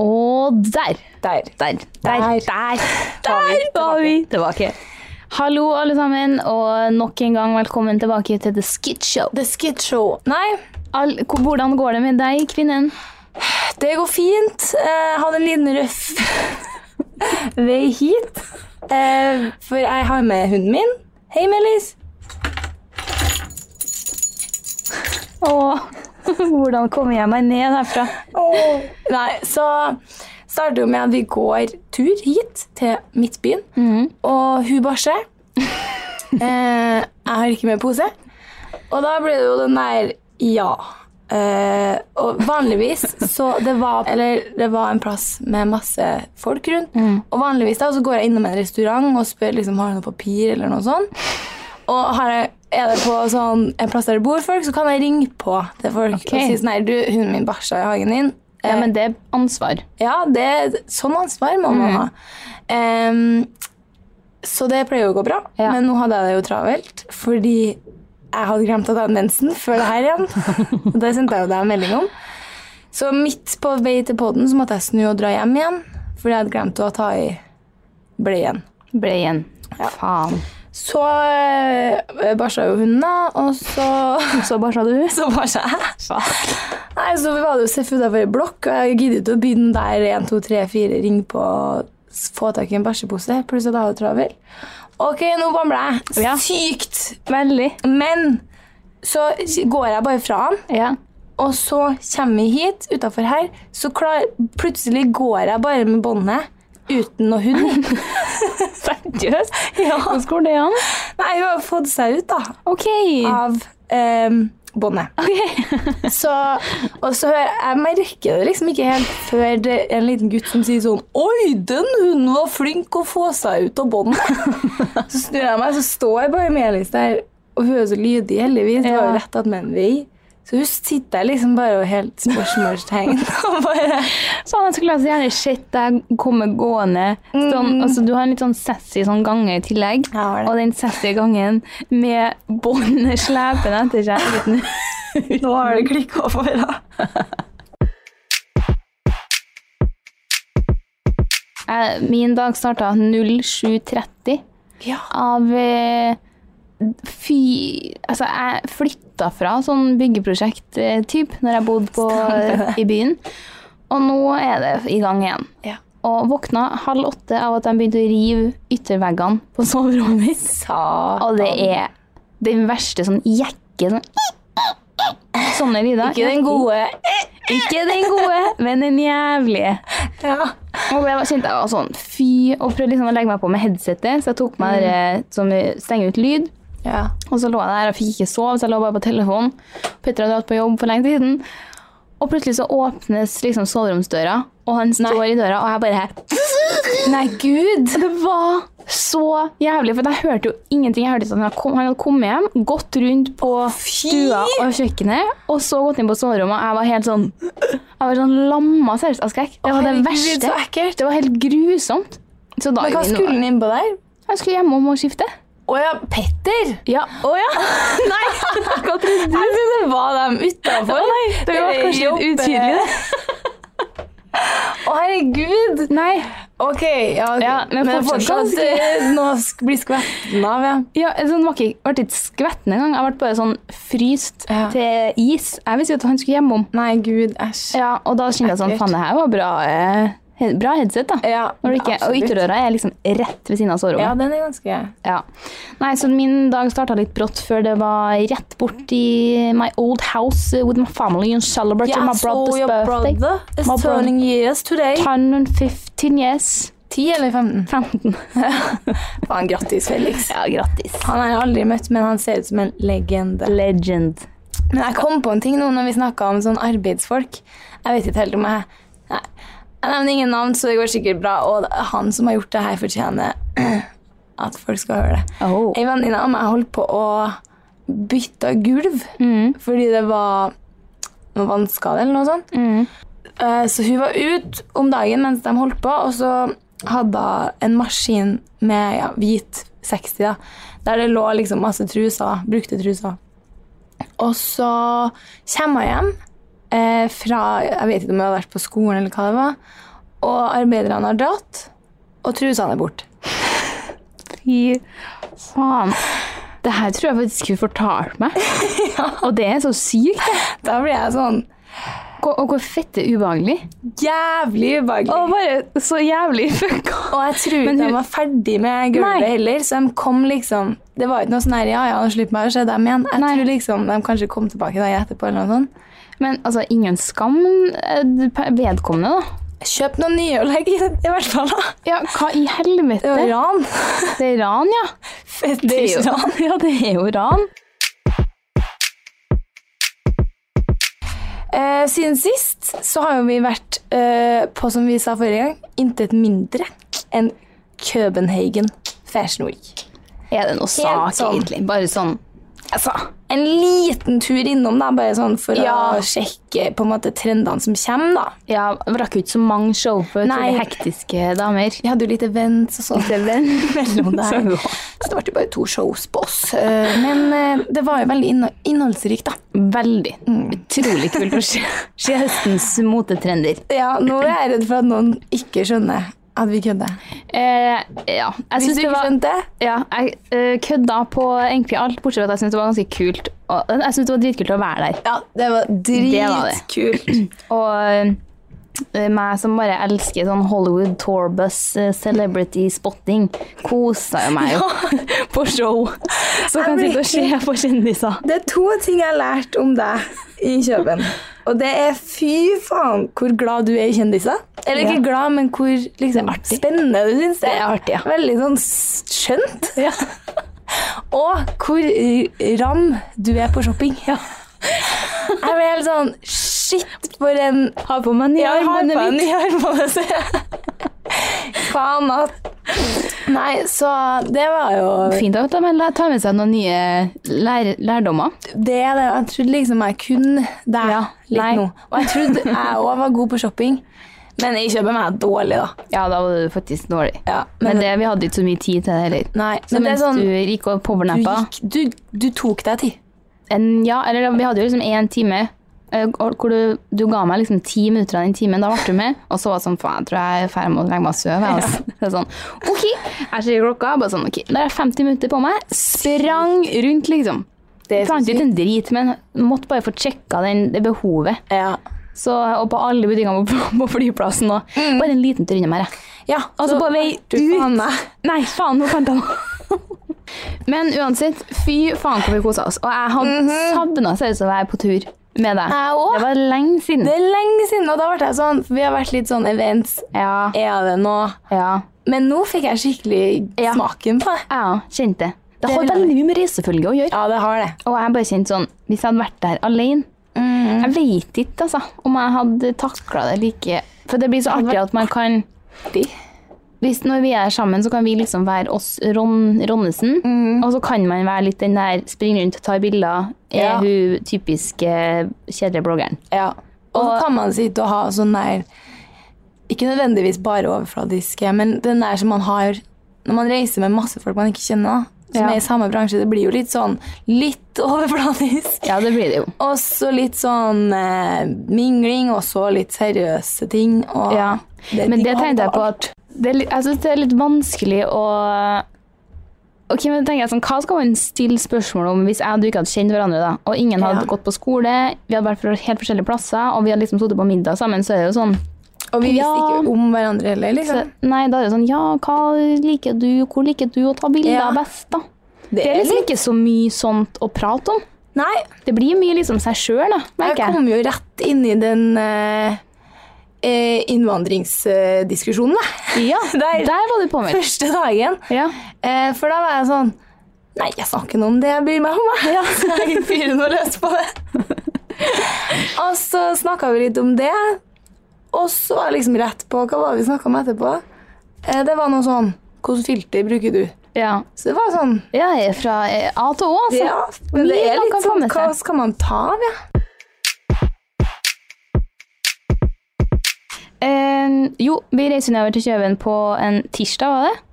Og der! Der. Der. Der. Der. Der, Var vi Der var vi tilbake. Hallo, alle sammen, og nok en gang velkommen tilbake til The Skit Show. The Skid Show. Nei, All, ko- hvordan går det med deg, kvinnen? det går fint. Jeg hadde en liten røff vei hit. Eh, For jeg har med hunden min. Hei, Melis. Og hvordan kommer jeg meg ned herfra? Nei, så starter jo med at vi går tur hit til Midtbyen, og hun bæsjer. eh, jeg har ikke med pose. Og da ble det jo den der ja. Eh, og vanligvis så det var Eller det var en plass med masse folk rundt. Og vanligvis da så går jeg innom en restaurant og spør liksom, har du noe papir eller noe sånt. Og har jeg, er det på sånn, en plass der det bor folk, så kan jeg ringe på til folk og si sånn her, du, hunden min bæsja i hagen din. Eh, Ja, men det er ansvar. Ja, det er sånn ansvar må Mm. man ha. Ehm, så det pleier jo å gå bra, Ja. men nå hadde jeg det jo travelt, fordi jeg hadde glemt at jeg hadde mensen før det her igjen. Og det sendte jeg jo deg en melding om. Så midt på vei til podden så måtte jeg snu og dra hjem igjen, fordi jeg hadde glemt å ta i bleien. Ble igjen. Faen. Så øh, bæsja jo hunden, da, og så Så bare sa du Så bæsja jeg. Nei, så var det jo Seff utenfor ei blokk, og jeg gidder ikke å begynne der 1, 2, 3, 4, ring på og s- få tak i en bæsjepose. Pluss at jeg hadde travel. Ok, nå bamler jeg. Ja. Sykt! Veldig. Men så går jeg bare fra han, Ja. og så kommer vi hit utafor her, så klar, plutselig går jeg bare med båndet uten noe hund. Seriøst? Ja. Hvordan går det an? Nei, hun har fått seg ut, da. OK. Av ehm, båndet. Ok. Så, og så hører jeg merker det liksom ikke helt før det er en liten gutt som sier sånn Oi, den hunden var flink å få seg ut av båndet. så snur jeg meg, så står bare Melis der, og hun er så lydig, heldigvis. Det var jo Ja. rett at menn vei. Så hun sitter der liksom bare og helt spørsmålstegn. og bare Faen, jeg skulle altså gjerne sett deg komme gående. Sånn, altså, du har en litt sånn sassy sånn gange i tillegg. Jeg har det. Og den sassy gangen med båndet slepende etter seg. Uten, Nå har det klikka for henne. Eh, min dag starta 07.30 Ja. av eh, Fy Altså, jeg flytta fra sånn byggeprosjekt-type når jeg bodde på, i byen. Og nå er det i gang igjen. ja. Og våkna halv åtte av at de begynte å rive ytterveggene på soverommet mitt. Og det er den verste sånn jekke sånn Sånne lyder. Ikke den gode. Ikke den gode, men den jævlige. Ja. Og jeg var- kjente jeg var sånn fy, og prøvde liksom å legge meg på med headsetet, så jeg tok meg det som eh, stenger ut lyd. ja. Og så lå jeg der og fikk ikke sove, så jeg lå bare på telefonen. Petter hadde vært på jobb for lenge siden. Og plutselig så åpnes liksom soveromsdøra, og han står i døra, og jeg bare her. Nei, gud. Det var så jævlig, for jeg hørte jo ingenting. Jeg hørte at han hadde kom- han hadde kommet hjem, gått rundt på stua og kjøkkenet, og så gått inn på soverommet, og jeg var helt sånn Jeg var sånn lamma seriøst av skrekk. Det var det Herregud, verste. Så ekkelt. Det var helt grusomt. Så da Men hva skulle han innpå der? Jeg skulle hjemme om og skifte. Å ja, Petter! Ja. Å ja! Nei! Hva trodde du? Jeg trodde det var dem utafor. det var kanskje litt utydelig, det. Å, herregud. Nei. Ok, ja, ok. Ja, men fortsatt ganske- eh, nå sk- blir skvetten av, ja. Ja, altså, den var ikke, jeg ble ikke skvetten engang. Jeg ble bare sånn fryst Ja. til is. Jeg visste jo at han skulle hjem om. Nei, gud, æsj. Ja, og da kjente jeg sånn, Ekkelt. faen, det her var bra, eh, he- bra headset da. Når du ikke, og absolutt. ytterdøra er liksom rett ved siden av Ja, soverommet. den er ganske Ja. Nei, så min dag starta litt brått før det var rett bort i my old house with my family and celebrate my brother's birthday. is My brother. turning years today. 115 yes. 10 eller 15? 15. Faen, grattis, Felix. Ja, grattis. Han har jeg aldri møtt, men han ser ut som en legende. Legend. Men jeg kom på en ting nå når vi snakka om sånn arbeidsfolk. Jeg vet ikke helt om jeg Nei. Jeg nevner ingen navn, så det går sikkert bra. Og han som har gjort det her, fortjener at folk skal høre det. Oh. Ei venninne av meg holdt på å bytte gulv Mm. fordi det var noe vannskade eller noe sånt. Mm. Eh, Så hun var ute om dagen mens de holdt på, og så hadde hun en maskin med ja, hvit 60, da, der det lå liksom masse truser, brukte truser. Og så kommer hun hjem eh, fra Jeg vet ikke om jeg har vært på skolen eller hva det var. Og arbeiderne har dratt, og trusene er borte. Fy faen. Det her tror jeg faktisk hun fortalte meg. Og det er så sykt. det. Da blir jeg sånn Hvor- Og hvor fett det er ubehagelig. jævlig ubehagelig. Og bare så jævlig fucka. Og jeg tror ikke Men de hun- var ferdig med gulvet Nei. heller, så de kom liksom Det var ikke noe sånn her, ja, ja, nå slipper jeg å se dem igjen. Jeg Nei. tror liksom de kanskje kom tilbake dagen etterpå eller noe sånt. Men altså, ingen skam eh, vedkommende, da. Kjøp noen nye og legg i det, i hvert fall. da. Ja, hva i Det helvete? var ran. Det er ran, ja. Det er jo ran. Ja, det er jo ran. Eh, siden sist så har jo vi vært eh, på, som vi sa forrige gang, intet mindre enn Københagen Fashion Week. Er det noe sak, sånn. egentlig? Bare sånn Altså, En liten tur innom, da, bare sånn for Ja. å sjekke på en måte trendene som kommer. da. ja, rakk jo ikke så mange show for Nei. til hektiske damer. Vi hadde jo litt events og sånn. mellom der. Så- Så det ble jo bare to shows på oss. Eh, Men eh, det var jo veldig inno- innholdsrikt, da. Veldig. Utrolig kult å se, se høstens motetrender. Ja, nå er jeg redd for at noen ikke skjønner at vi kødder. Eh, ja, jeg Hvis synes du det ikke var skjønte ja, Jeg eh, kødda på egentlig alt, bortsett fra at jeg syntes det var ganske kult. Og, jeg syntes det var dritkult å være der. Ja, det var dritkult. Og eh, meg som bare elsker sånn Hollywood tourbus, eh, celebrity spotting, kosa jo meg jo på show. Så Jeg kan jeg blir sitte og se på kjendiser. Det er to ting jeg har lært om deg i Kjøben. Og det er fy faen hvor glad du er i kjendiser. Eller ikke Ja. glad, men hvor liksom, spennende du syns det er. artig, ja. Veldig sånn s- skjønt. Ja. Og hvor eh, ram du er på shopping. jeg ble helt sånn Shit, for en Har på meg nye Ja, jeg har armbåndet på en mitt. ny armbånd, ser jeg. Faen, at Nei, så det var jo Fint at de tar med seg noen nye lær lærdommer. det, er det. Jeg trodde liksom jeg kunne deg Ja, litt nei. nå. Og jeg trodde jeg òg var god på shopping, men jeg kjøper meg dårlig, da. Ja, da var du faktisk dårlig. Ja, Men det, vi hadde ikke så mye tid til det heller. Nei, Så men det mens er sånn du gikk og du, powernappa gikk, du, du tok deg tid. en- Ja, eller vi hadde jo liksom én time eh, og hvor du, du ga meg liksom ti minutter av den timen. Da ble du med. Og så var det sånn faen, jeg tror jeg er ferdig med å legge meg og sove. jeg, altså. Det er Sånn, OK, jeg ser klokka. Bare sånn, ok, Da har jeg 50 minutter på meg. Sprang rundt, liksom. Det er så Fant sykt. ikke en drit, men måtte bare få sjekka den- det behovet. Ja. Så, og på alle butikkene på, på flyplassen. Og, Bare en liten tur innom her, jeg. ja Altså, på vei du, ut. faen meg. Nei, faen, nå fant jeg noe. Men uansett, fy faen hvor vi kosa oss. Og jeg har savna seriøst å være på tur med deg. Jeg òg. Det var lenge siden. Det er lenge siden, og da ble jeg sånn For vi har vært litt sånn events. Ja, Er det nå? ja. Men nå fikk jeg skikkelig Ja. smaken på det. Jeg òg kjente det. Det har vil jeg. veldig mye med reisefølge å gjøre. Ja, det har det. Og jeg bare kjente sånn, hvis jeg hadde vært der alene Mm. Jeg vet ikke altså, om jeg hadde takla det like For det blir så artig at man kan Artig. hvis når vi er sammen, så kan vi liksom være oss Ron, Ronnesen, Mm. og så kan man være litt den der springe rundt og ta bilder. Er Ja. hun typiske kjedelige bloggeren? Ja. Og så Og- kan man sitte og ha sånn der Ikke nødvendigvis bare overfladiske, men den der som man har når man reiser med masse folk man ikke kjenner, da, som Ja. er i samme bransje. Det blir jo litt sånn litt overfladisk. Ja, det blir det jo. Og så litt sånn eh, mingling, og så litt seriøse ting. Og Ja. er Men ting det av tenkte jeg på alt. at det er, litt- Jeg syns det er litt vanskelig å Ok, men da tenker jeg sånn, Hva skal man stille spørsmål om hvis jeg og du ikke hadde kjent hverandre? da, Og ingen hadde Ja. gått på skole, vi hadde vært fra helt forskjellige plasser, og vi hadde liksom sittet på middag sammen, så er det jo sånn Og vi visste Ja. ikke om hverandre heller, så, liksom. Nei, da er det jo sånn Ja, hva liker du? Hvor liker du å ta bilder Ja. best, da? Det er liksom ikke så mye sånt å prate om. Nei, Det blir mye liksom seg sjøl, da, merker Jeg jeg. kom jo rett inn i den eh, eh, innvandringsdiskusjonen, da. Ja, Der. der var du påmeldt. Første dagen. Ja. Eh, for da var jeg sånn Nei, jeg snakker noe om det jeg bryr meg om. jeg." Så jeg fyrer noe løs på det. og så snakka vi litt om det, og så var jeg liksom rett på Hva var det vi snakka om etterpå? Eh, det var noe sånn Hvilket filter bruker du? ja. Så det var sånn Jeg er fra eh, A til Å, altså. Ja, men det mye er man litt kan få sånn med seg. Hva skal man ta av, ja? Eh, jo, vi reiser nedover til Kjøben på en tirsdag, var det?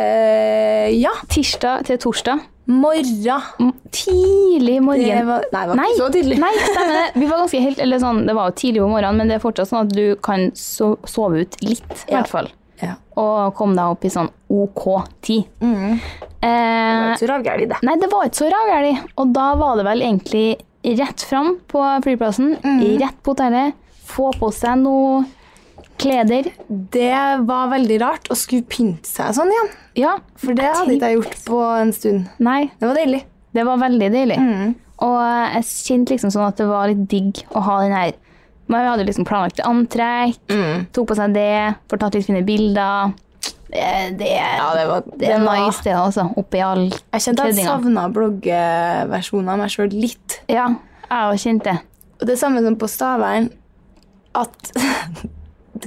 Eh, ja. Tirsdag til torsdag. morgen. M- Tidlig Det morgen. var, nei, det var Nei, ikke så tidlig. nei, stemmer det. Vi var ganske helt, eller sånn, det var jo tidlig på morgenen, men det er fortsatt sånn at du kan so sove ut litt, i Ja. hvert fall. Ja. Og komme deg opp i sånn OK tid. Mm. Det var Eh, ikke så ravgærlig, det. nei, det var ikke så ravgærent. Og da var det vel egentlig rett fram på flyplassen, Mm. rett på hotellet, få på seg noe kleder. Det var veldig rart å skulle pynte seg sånn igjen. Ja, For det hadde ikke jeg gjort på en stund. nei, Det var deilig. det var veldig deilig. Og jeg kjente liksom sånn at det var litt digg å ha den her. Men vi hadde liksom planlagt antrekk, Mm. tok på seg det, får tatt litt fine bilder. Det, det, Ja, det var, det er nice det altså, oppi alt. Jeg kjente jeg Køddinga. savna bloggeversjonen av meg sjøl litt. Ja, jeg også kjente det. Og det samme som på Stavern, at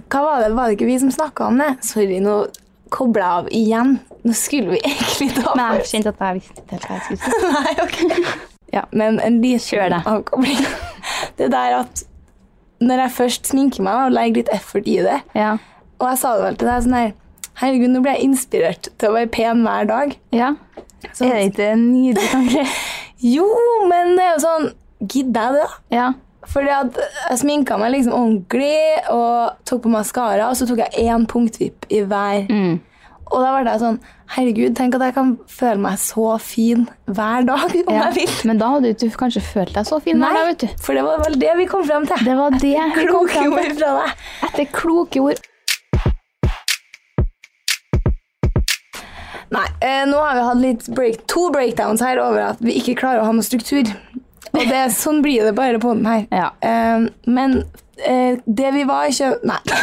Hva var det? Var det ikke vi som snakka om det? Sorry, nå kobla jeg av igjen. Nå skulle vi egentlig ta Men jeg først. kjente at jeg visste ikke helt hva jeg skulle si. Nei, ok. Ja, men en Kjør liten det. avkobling. Det der at når jeg først sminker meg og legger litt effort i det, Ja, og jeg sa det vel til deg sånn her Herregud, nå ble jeg inspirert til å være pen hver dag. ja. Sånn, Er det ikke en nydelig tanke? Jo, men det er jo sånn Gidder jeg det, da? Ja, Fordi at jeg sminka meg liksom ordentlig og tok på maskara, og så tok jeg én punktvipp i hver. Mm. Og da ble jeg sånn Herregud, tenk at jeg kan føle meg så fin hver dag om ja. jeg vil. Men da hadde du ikke kanskje følt deg så fin der, da, vet du. for det var vel det vi kom frem til. Det var det vi kom Kloke fram til. ord fra deg. Etter kloke ord. Nei, eh, nå har vi hatt litt break, to breakdowns her over at vi ikke klarer å ha noe struktur. Og det, sånn blir det bare på den her. Ja. Eh, men eh, det vi var i København Nei.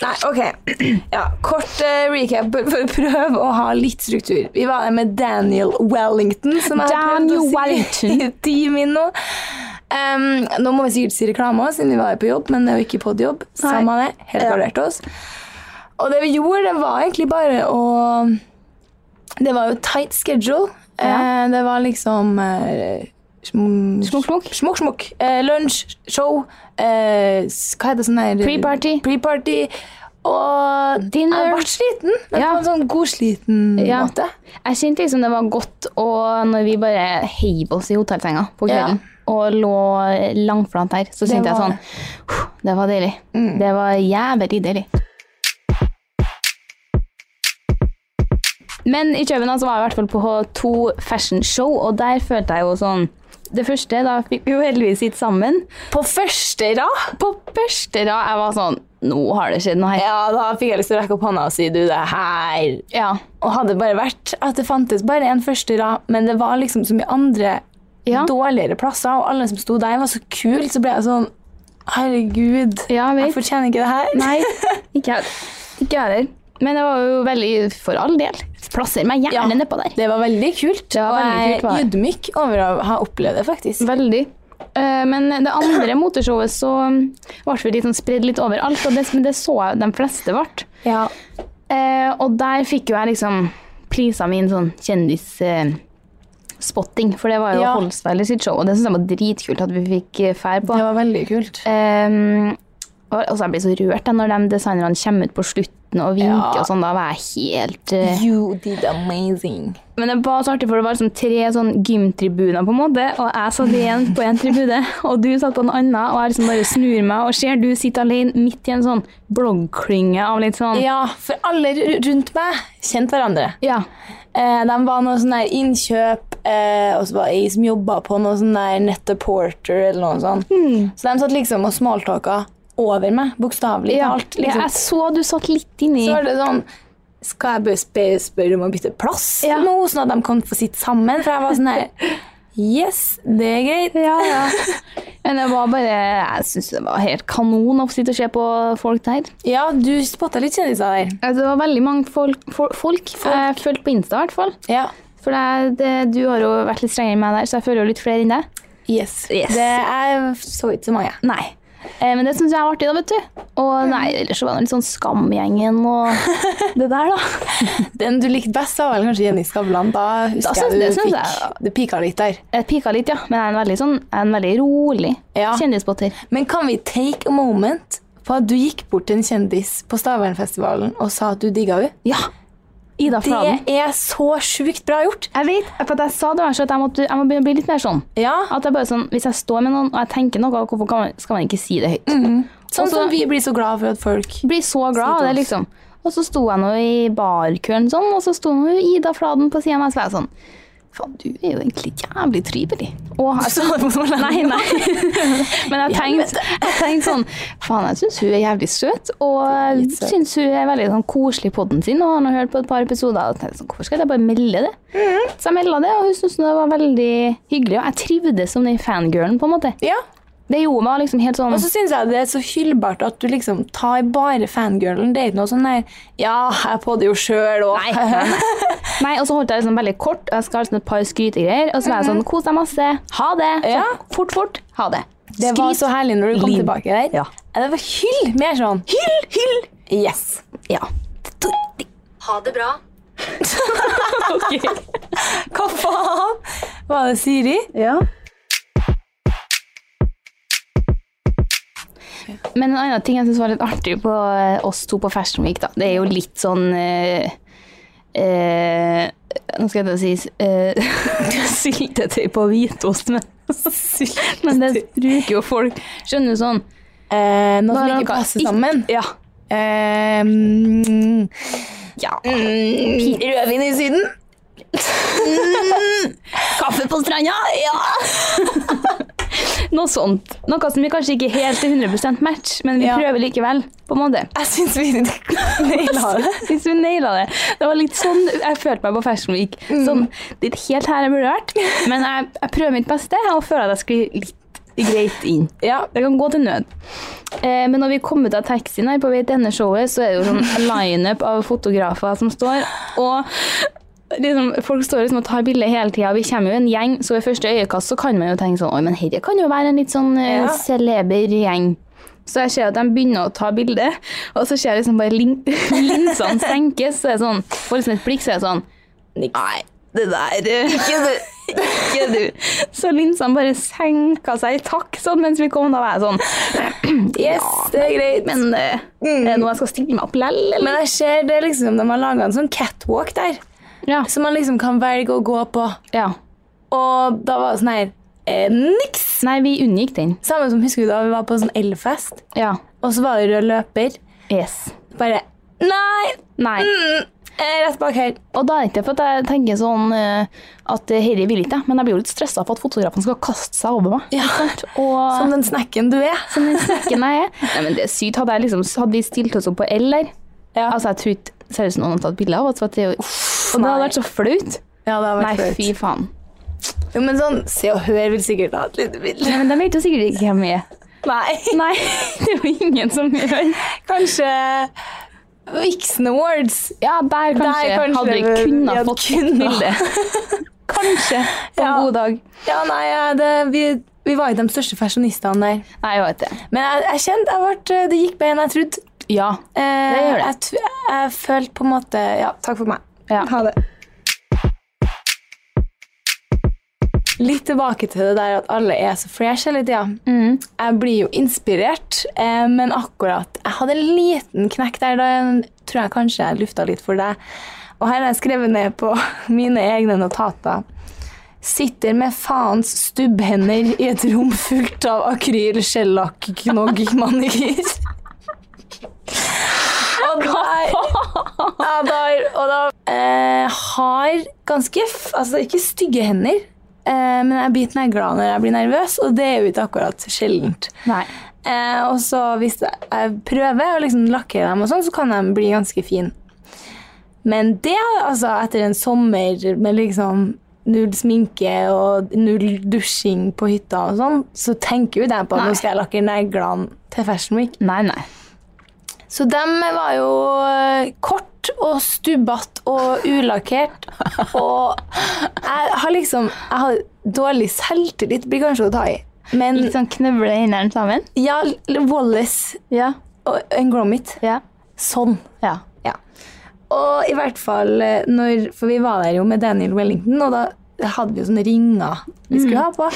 Nei, ok. Ja, kort eh, recap for- for å prøve å ha litt struktur. Vi var der med Daniel Wellington, som jeg har Daniel prøvd å si i Wellington. ti min nå. Em, nå må vi sikkert si reklame også, siden vi var på jobb, men det er jo ikke podjobb. Samme det, helt Ja. gardert oss. Og det vi gjorde, det var egentlig bare å det var jo tight schedule. Ja. Eh, det var liksom eh, sm- Smokk, smokk. Smokk, smokk. Eh, lunsj, show eh, s- Hva heter det sånn her Pre-party. Pre-party. Og Dinner. Jeg ble sliten, men Ja. på en sånn godsliten Ja. måte. Jeg kjente liksom det var godt å, når vi bare heiv oss i hotellsenga på kvelden og lå langflat der, så kjente jeg var sånn det. «Puh, Det var deilig. Det var jævlig deilig. Men i København så var jeg i hvert fall på to fashion show, og der følte jeg jo sånn Det første, da fikk vi jo heldigvis sitte sammen. På første rad På første da jeg var sånn Nå har det skjedd noe her. Ja, da fikk jeg lyst til å rekke opp hånda og si du, det her Ja. Og hadde det bare vært at det fantes bare en første rad, men det var liksom så mye andre Ja, dårligere plasser, og alle som sto der, var så kule, så ble jeg sånn Herregud, ja jeg vet. jeg fortjener ikke det her. Nei, ikke jeg ikke jeg heller. Men det var jo veldig for all del. Plasser meg Ja. gjerne nedpå der. Det var veldig var veldig kult, kult. og var jeg er det. ydmyk over å ha opplevd det, faktisk. Veldig. Eh, Men det andre moteshowet så um, ble vi litt sånn spredd litt overalt, og det, men det så jeg de fleste ble. Ja. Eh, og der fikk jo jeg liksom prisa min sånn kjendisspotting, for det var jo Ja. Holsweiler sitt show, og det syns jeg var dritkult at vi fikk eh, fær på. Det var veldig kult. Um, og altså, jeg blir så rørt da, når de designerne kommer ut på slutten og vinker Ja. og sånn. Da var jeg helt eh, You did amazing. Men det var så artig, for det var liksom tre sånn gymtribuner, på en måte, og jeg satt igjen på en tribune, og du satt på en annen, og jeg liksom bare snur meg og ser du sitter alene midt i en sånn bloggklynge av litt sånn Ja, for alle ru- rundt meg kjente hverandre. Ja. Eh, de var noe sånn der innkjøp, eh, og så var jeg som jobba på noe sånn der Netta Porter eller noe sånt. Så de satt liksom og smalltalka over meg, bokstavelig ja. talt. Liksom. Jeg så du satt litt inni Så var det sånn Skal jeg bare spørre, spørre om å bytte plass Ja. nå, sånn at de kan få sitte sammen? For jeg var sånn her Yes, det er greit. Ja, ja. Men det var bare Jeg syns det var helt kanon å sitte og se på folk der. Ja, du spotta litt kjendiser der. Altså, det var veldig mange folk, fol- folk, jeg følte på Insta, i hvert fall. Ja. For det, det, du har jo vært litt strengere enn meg der, så jeg føler jo litt flere enn deg. Yes. Yes. Det er så ikke så mange. Nei. Eh, men det syns jeg var artig, da, vet du. Og nei, ellers så var det litt sånn Skamgjengen og det der, da. Den du likte best, var vel kanskje Jenny Skavlan. Da husker Da syns- jeg det du syns fikk jeg, ja. Det pika litt der. Jeg pika litt, ja. Men jeg er en veldig, sånn, jeg er en veldig rolig Ja. kjendisspotter. Men kan vi take a moment på at du gikk bort til en kjendis på Stavernfestivalen og sa at du digga henne. Ja! Ida Fladen. Det er så sjukt bra gjort. Jeg vet, for at jeg sa det var så at jeg, måtte, jeg må begynne å bli litt mer sånn. Ja, At jeg bare sånn, Hvis jeg står med noen og jeg tenker noe, hvorfor kan man, skal man ikke si det høyt? Og så- Sånn som vi blir så glad for at folk Blir så glad av det, til oss. liksom. Og så sto jeg nå i barkøen sånn, og så sto nå Ida Fladen på sida av meg, så var jeg sånn Faen, du er jo egentlig jævlig trivelig. Og jeg sånn, Nei, nei. Men jeg tenkte, jeg tenkte sånn Faen, jeg syns hun er jævlig søt, og Litt søt. syns hun er veldig sånn, koselig i podden sin. Og har nå hørt på et par episoder, og tenkte sånn, hvorfor skal jeg bare melde det? Mhm. Så jeg melda det, og hun syntes det var veldig hyggelig. Og jeg trivdes som den fangirlen, på en måte. Ja, Det gjorde meg liksom helt sånn Og så syns jeg det er så hyllbart at du liksom tar bare fangirlen. Det er ikke noe sånn der Ja, jeg podder jo sjøl Nei. òg. Nei, og så holdt jeg liksom veldig kort. og Jeg skal ha sånn et par skrytegreier. Og så var jeg sånn Kos deg masse. Ha det. Så, Mhm. Ja. Fort, fort. Ha det. Det var så herlig når du kom Liv. tilbake der. Ja. Det var hyll. Mer sånn hyll, hyll. Yes. Ja. Ha det bra. Hva faen? Var det Siri? Men en annen ting jeg syns var litt artig på eh, oss to på Fashion Week, da. Det er jo litt sånn eh, eh, Nå skal jeg til å si eh, syltetøy på hvitost, men, men det bruker jo folk. Skjønner du sånn? Eh, noe Når som noe ikke passer ikke- sammen? Ja. Eh, mm, ja. mm, rødvin i Syden? Mm. Kaffe på stranda? Ja! Noe sånt. Noe som vi kanskje ikke helt er 100 match, men vi Ja. prøver likevel. på en måte. Jeg syns vi naila det. Hvis vi naila det. Det var litt sånn jeg følte meg på Fashion Week. Sånn, det er ikke helt her jeg burde vært, men jeg, jeg prøver mitt beste og føler at jeg sklir litt greit inn. Ja. Det kan gå til nød. Eh, men når vi kom ut av taxien her på vei til denne showet, så er det jo sånn lineup av fotografer som står, og liksom, folk står liksom og tar bilder hele tida. Vi kommer jo en gjeng, så ved første øyekast så kan man jo tenke sånn Oi, men herre kan jo være en litt sånn eh, Ja. celeber gjeng. Så jeg ser at de begynner å ta bilde, og så ser jeg liksom bare lin linsene senkes, så er det sånn Får liksom et blikk, så er det sånn Nei, det der eh, Ikke du. Ikke du. Så linsene bare senka seg i takt sånn mens vi kom. Da var jeg sånn Yes, det er greit. Men eh, Mm. er det noe jeg skal stille meg opp lell, eller? Men jeg ser det liksom, de har laga en sånn catwalk der, Ja. som man liksom kan velge å gå på. ja. Og da var det sånn her eh, Niks! Nei, vi unngikk den. Samme som husker du da vi var på sånn elfest, Ja. og så var det rød løper. Yes. Bare Nei! Nei. Mm, eh, rett bak her. Og da er det ikke for at jeg tenker sånn eh, at eh, herre vil ikke, jeg, men jeg blir jo litt stressa for at fotografen skal kaste seg over meg. Ja. Og Som den snekken du er. som den snekken jeg er. Nei, men det er sykt. Hadde, jeg liksom, hadde vi stilt oss opp på L der, Ja, altså jeg tror ikke seriøst noen hadde tatt bilde av oss, for at det er jo Og det hadde nei. vært så flaut. ja det har Nei, vært fy flaut. faen. Jo, men sånn Se og Hør vil sikkert ha et lite bilde. Nei, men de vet jo sikkert ikke hvem vi er. Nei. Nei, det er jo ingen som gjør. Kanskje Vixen Awards. Ja, der kanskje, Der kanskje hadde vi vi kunnet hadde fått kunnet. bilde. kanskje, på en Ja. god dag. Ja, nei, ja, det, vi, vi var jo de største fashionistene der. Nei, jeg vet det. Men jeg, jeg kjente jeg ble, det gikk bedre enn jeg trodde. Ja. Eh, Det gjør det. Jeg, tr- jeg følte på en måte Ja, takk for meg. ja. Ha det. Litt tilbake til det der at alle er så fresh hele tida. Mm. Jeg blir jo inspirert, eh, men akkurat Jeg hadde en liten knekk der. Da tror jeg kanskje jeg lufta litt for deg. Og her har jeg skrevet ned på mine egne notater. Sitter med faens stubbhender i et rom fullt av akryl, skjellakk, gnogg, manikyr. Og der, ja, der, og da eh, har ganske f Altså ikke stygge hender, eh, men jeg blir negla når jeg blir nervøs, og det er jo ikke akkurat sjeldent. Nei. Eh, og så hvis jeg prøver å liksom lakkere dem, og sånn, så kan de bli ganske fine. Men det, altså, etter en sommer med liksom null sminke og null dusjing på hytta og sånn, så tenker jo jeg på at Nei. nå skal jeg lakke neglene til Fashion Week. Nei, nei. Så dem var jo eh, kort og stubbete og ulakkert. Og jeg har liksom Jeg har dårlig selvtillit, blir kanskje å ta i. Men Litt sånn knøvle hendene sammen. ja, Wallace Ja. og en Gromit. Ja. Sånn. Ja. Ja. Og i hvert fall eh, når For vi var der jo med Daniel Wellington, og da hadde vi jo sånne ringer vi skulle ha på.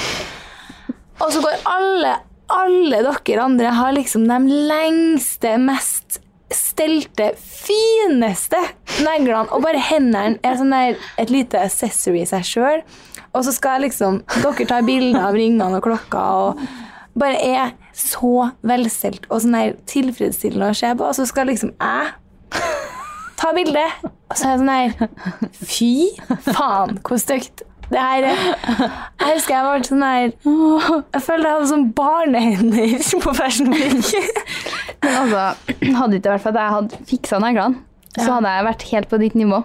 Og så går alle alle dere andre har liksom de lengste, mest stelte, fineste neglene, og bare hendene er sånn der et lite accessory i seg sjøl. Og så skal jeg liksom Dere tar bilder av ringene og klokka og bare er så velstelt og sånn der tilfredsstillende å se på, og så skal liksom jeg ta bilde. Og så er jeg sånn her Fy faen, hvor stygt. Det her Jeg husker jeg var sånn her Jeg følte jeg hadde sånn barnehender på Fashion Week. Men altså, hadde det ikke vært for at jeg hadde fiksa neglene, så Ja. hadde jeg vært helt på ditt nivå.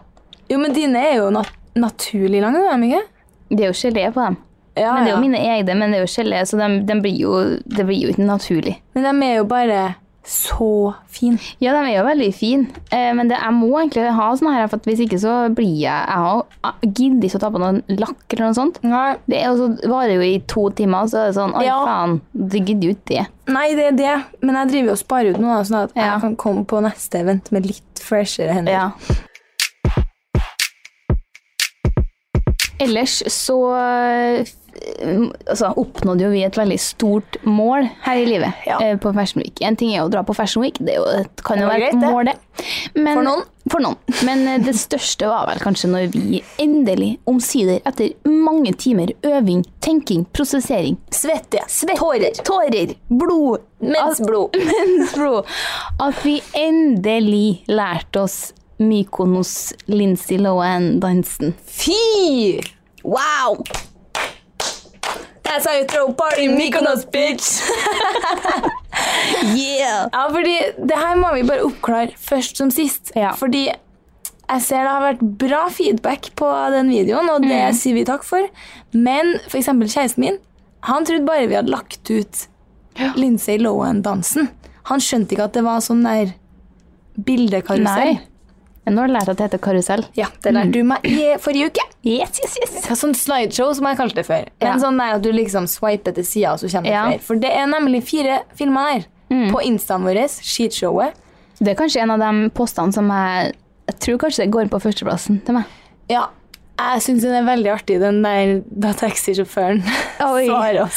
Jo, men dine er jo nat naturlig lange, er de ikke? Det er jo gelé på dem. Ja, Men det er ja. jo mine egne, men det er jo gelé, så dem- dem blir jo, det blir jo ikke naturlig. Men de er jo bare så fine. Ja, de er jo veldig fine, eh, men det, jeg må egentlig ha sånne her, for at hvis ikke så blir jeg Jeg har jeg gidder ikke å ta på noen lakk eller noe sånt. Nei. Det er jo så, varer jo i to timer, så er det sånn Oi, Ja. faen, du gidder jo ikke det. det er det, men jeg driver jo og sparer ut nå, da, sånn at Ja. jeg kan komme på neste event med litt freshere hender. Ja. Ellers så eh, altså, oppnådde jo vi et veldig stort mål her i livet Ja. eh, på Fashion Week. En ting er jo å dra på Fashion Week, det er jo, et- kan jo Det var være et greit, det. mål, det. Men, For noen. For noen. Men eh, det største var vel kanskje når vi endelig, omsider, etter mange timer øving, tenking, prosessering, Svette, tårer, tårer, blod, mensblod. Bro, at vi endelig lærte oss Mykonos Lindsay Lohan-dansen. Fy! Wow! That's how you throw party in Mykonos, bitch! Yeah! Ja, fordi det her må vi bare oppklare først som sist. Ja. Fordi jeg ser det har vært bra feedback på den videoen, og det sier vi takk for. Men for eksempel kjæresten min, han trodde bare vi hadde lagt ut Lindsay Lohan-dansen. Han skjønte ikke at det var sånn der bildekarusell. Nei. Men nå har jeg lært at det heter karusell. Ja, det lærte du meg i forrige uke. Yes, yes, yes. Ja, sånn slideshow som jeg kalte det før. Ja. Men sånn der at du liksom swiper til sida, og så kommer det Ja. Mm. flere. For det er nemlig fire filmer her på instaen vår, Skitshowet. Det er kanskje en av de postene som jeg jeg tror kanskje det går på førsteplassen til meg. Ja, jeg syns den er veldig artig, den der da taxisjåføren Oi. svarer oss.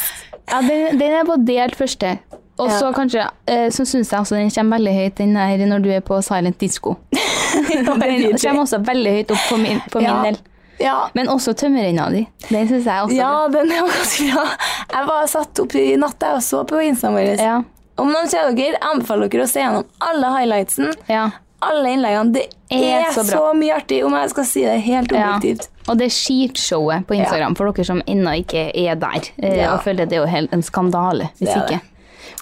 Ja, Den, den er på delt første. Og så Ja. kanskje, eh, så syns jeg også den kommer veldig høyt, den her når du er på silent disco. Den kommer også veldig høyt opp for min, for Ja. min del. ja. Men også tømmerrenna di. Den syns jeg også. ja, den er jo ganske bra. Jeg var satt opp i natt jeg, og så på instaen vår. Ja. Om noen ser dere, jeg anbefaler dere å se gjennom alle highlightsen. ja. Alle innleggene. Det Er er, så så, bra. mye artig, om jeg skal si det helt objektivt. Og det er skitshowet på Instagram for dere som ennå ikke er der. eh, Ja. Og føler det er jo helt en skandale hvis Det er ikke.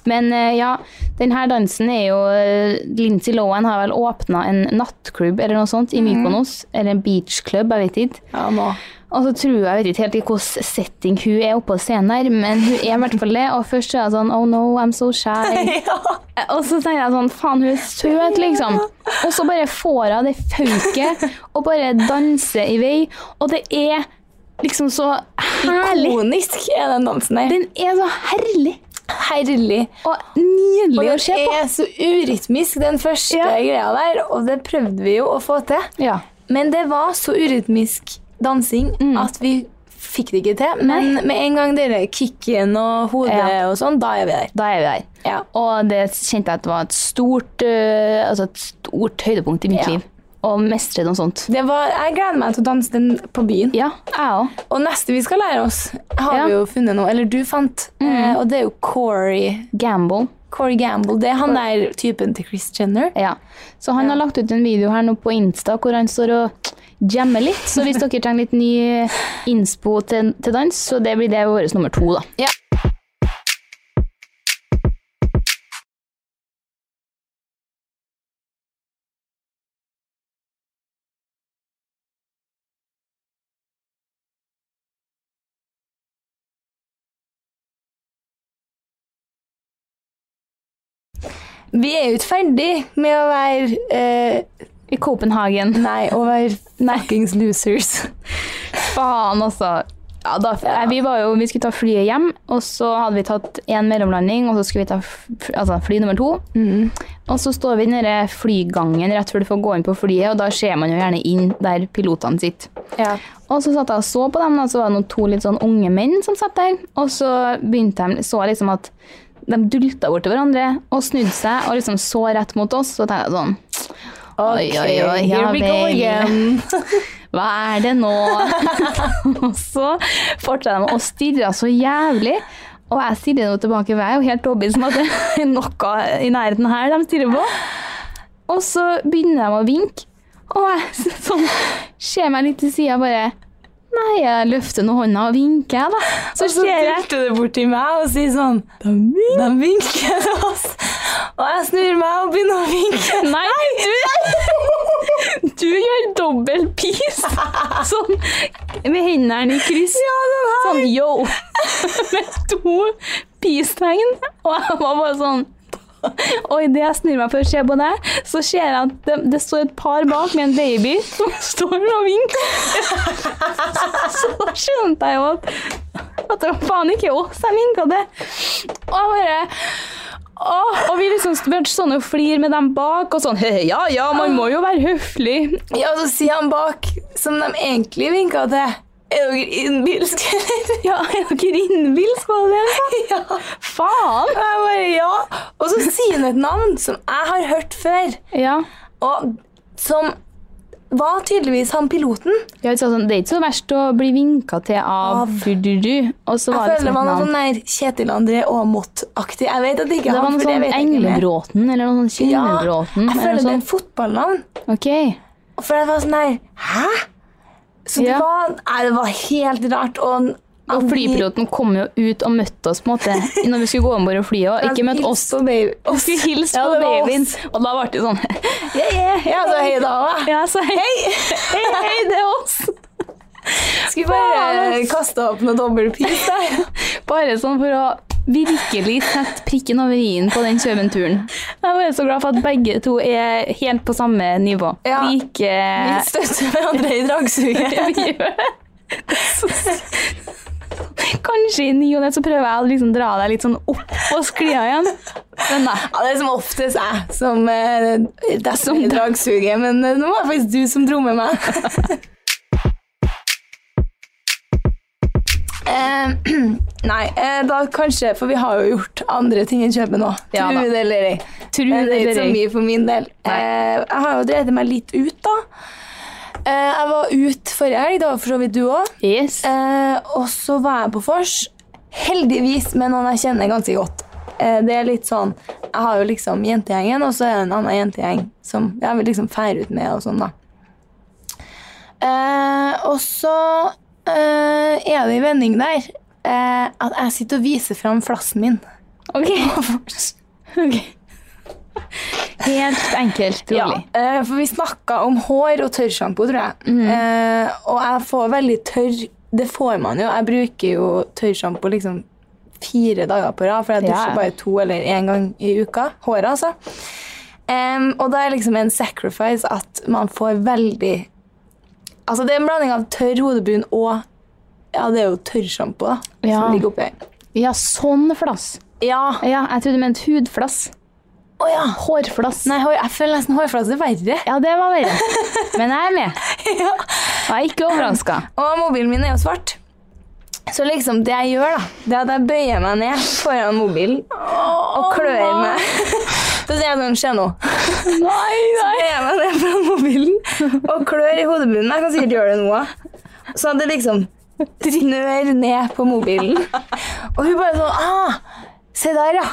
Men eh, ja, denne dansen er jo eh, Lindsay Lohan har vel åpna en nattklubb eller noe sånt i Mhm. Mykonos. Eller en beachklubb, jeg vet ikke. Ja, nå. Og så tror jeg, jeg vet ikke helt i hvilken setting hun er oppe på scenen her, men hun er i hvert fall det. Og først så er jeg sånn Oh no, I'm so shy. Ja. Og så tenker jeg sånn, faen hun er søt liksom Og så bare får hun det fauket Og bare danser i vei Og det er liksom så herlig Ikonisk er den dansen der. Den er så herlig Herlig. Og nydelig å Og se den på er så urytmisk, den første Ja. greia der, og det prøvde vi jo å få til. ja. Men det var så urytmisk dansing at vi fikk det ikke til. Men med en gang dere kicken og hodet Ja. og sånn, da er vi der. Da er vi der Ja. Og det kjente jeg at det var et stort øh, Altså et stort høydepunkt i mitt Ja. liv Å mestre noe sånt Det var, jeg gleder meg til å danse den på byen. Ja, jeg også Og neste vi skal lære oss, har Ja. vi jo funnet noe, eller du fant, eh, og det er jo Corey. Gamble Corey Gamble. Det er han der typen til Chris Jenner. Ja. Så han har lagt ut en video her nå på Insta hvor han står og jammer litt. Så hvis dere trenger litt ny innspo til, til dans, så det blir det vår nummer to, da. Ja. Vi er jo ikke ferdig med å være eh, I Copenhagen. Nei, å være fuckings losers. Faen, altså. Ja, da, eh, vi, var jo, vi skulle ta flyet hjem, og så hadde vi tatt én mellomlanding, og så skulle vi ta f- altså, fly nummer to. Og så står vi i den der flygangen rett før du får gå inn på flyet, og da ser man jo gjerne inn der pilotene sitter. Ja. Og så satt jeg og så på dem, og så var det noen to litt sånn unge menn som satt der. Og så begynte jeg, så jeg liksom at De dulta bort til hverandre og snudde seg og liksom så rett mot oss. Så tenkte jeg sånn Oi, oi, oi, ja here we go vel. again. Hva er det nå? og så fortsatte de å stirre så jævlig. Og jeg stirrer nå tilbake, for jeg er jo helt overbevist om at det er noe i nærheten her de stirrer på. Og så begynner de å vinke, og jeg s- sånn, ser meg litt til sida bare Nei, jeg løfter nå hånda og vinker, jeg, da. Så Og så ser jeg tilte det bort til meg og sier sånn De vinker til oss. Og jeg snur meg og begynner å vinke. Nei, du, du gjør dobbel pis. Sånn med hendene i kryss. Ja, den her. Sånn yo! Med to peace-tegn. Og jeg var bare sånn Og idet jeg snur meg for å se på deg, så ser jeg at det, det står et par bak med en baby som står og vinker. Så da skjønte jeg jo at at det var faen ikke oss jeg vinka til. Og jeg bare Åh, og vi liksom begynte sånn å flire med dem bak, og sånn «Hehe, Ja, ja, man må jo være høflig. Ja, og så sier han bak, som de egentlig vinka til. Er dere innbilske, eller? Ja, er dere innbilske på det? altså? Ja. Faen! Og jeg bare ja. Og så sier han et navn som jeg har hørt før, Ja. og som var tydeligvis han piloten. Ja, vi sa sånn, det er ikke så verst å bli vinka til av, Av. du, du, du. Og så var det Jeg føler liksom et man er navn. sånn der Kjetil André Aamodt-aktig. Jeg vet at det ikke Det er var han, noe for det sånn vet jeg ikke. mer. Englebråten eller noe sånn Ja, Kjellenbråten. jeg føler det er et fotballnavn. Ok. Og For jeg var sånn der Hæ? Så det, Ja. var, nei, det var helt rart. Og, Og flypiloten kom jo ut og møtte oss på en måte når vi skulle gå ombord og flyet. Og ikke møtte oss. Vi skulle hilse Altså, Ja, på det var babyen. oss. Og da ble det sånn Ja, ja, ja, så hei da. da. Ja, så hei, hei, hei, det er oss. Skulle bare Faen, ass. kaste opp noe dobbeltpils der. Bare sånn for å virkelig sette prikken over i-en på den kjøventuren. Jeg var så glad for at begge to er helt på samme nivå. Ja. Like Vi støtter hverandre i dragsuget. Vi gjør det. Kanskje i ny og ne så prøver jeg å liksom dra deg litt sånn opp på sklia igjen. Men nei. Ja, det er som oftest jeg som eh, detter i dragsuget, men eh, nå var det faktisk du som dro med meg. Eh, nei, eh, da kanskje, for vi har jo gjort andre ting enn kjøpe nå. Ja da. Tro det eller ei. Tro Men det det er ikke eller så ei. mye for min del. Nei. Eh, jeg har jo drevet meg litt ut, da. Eh, jeg var ut forrige helg, det var for så vidt du òg. Yes. Eh, og så var jeg på vors. Heldigvis med noen jeg kjenner ganske godt. Eh, det er litt sånn Jeg har jo liksom jentegjengen, og så er det en annen jentegjeng som jeg vil liksom feire ut med og sånn, da. Eh, og så eh, er det en vending der eh, at jeg sitter og viser fram flassen min. Ok. Ok. Helt enkelt, rolig. eh, for vi snakka om hår og tørrsjampo, tror jeg. Mhm. Eh, og jeg får veldig tørr Det får man jo. Jeg bruker jo tørrsjampo liksom fire dager på rad, for jeg Ja. dusjer bare to eller én gang i uka. Håret, altså. Em, og da er liksom en sacrifice at man får veldig Altså, det er en blanding av tørr hodebrun og Ja, det er jo tørrsjampo, da. Ja. Som ligger oppi her. Ja, sånn flass. Ja. Ja, jeg trodde du mente hudflass. Å ja. Hårflass. Nei, hår, jeg føler nesten hårflasse er verre. Ja, det var verre. Men jeg er med. ja. Og jeg er ikke overraska. Og mobilen min er jo svart. Så liksom det jeg gjør, da, det er at jeg bøyer meg ned foran mobilen og klør meg. Så sier jeg sånn, se nå. Nei, Så bøyer jeg meg ned foran mobilen og klør i hodebunnen. Jeg kan sikkert gjøre det nå òg. Så det liksom snør ned på mobilen. Og hun bare sånn ah, Se der, ja.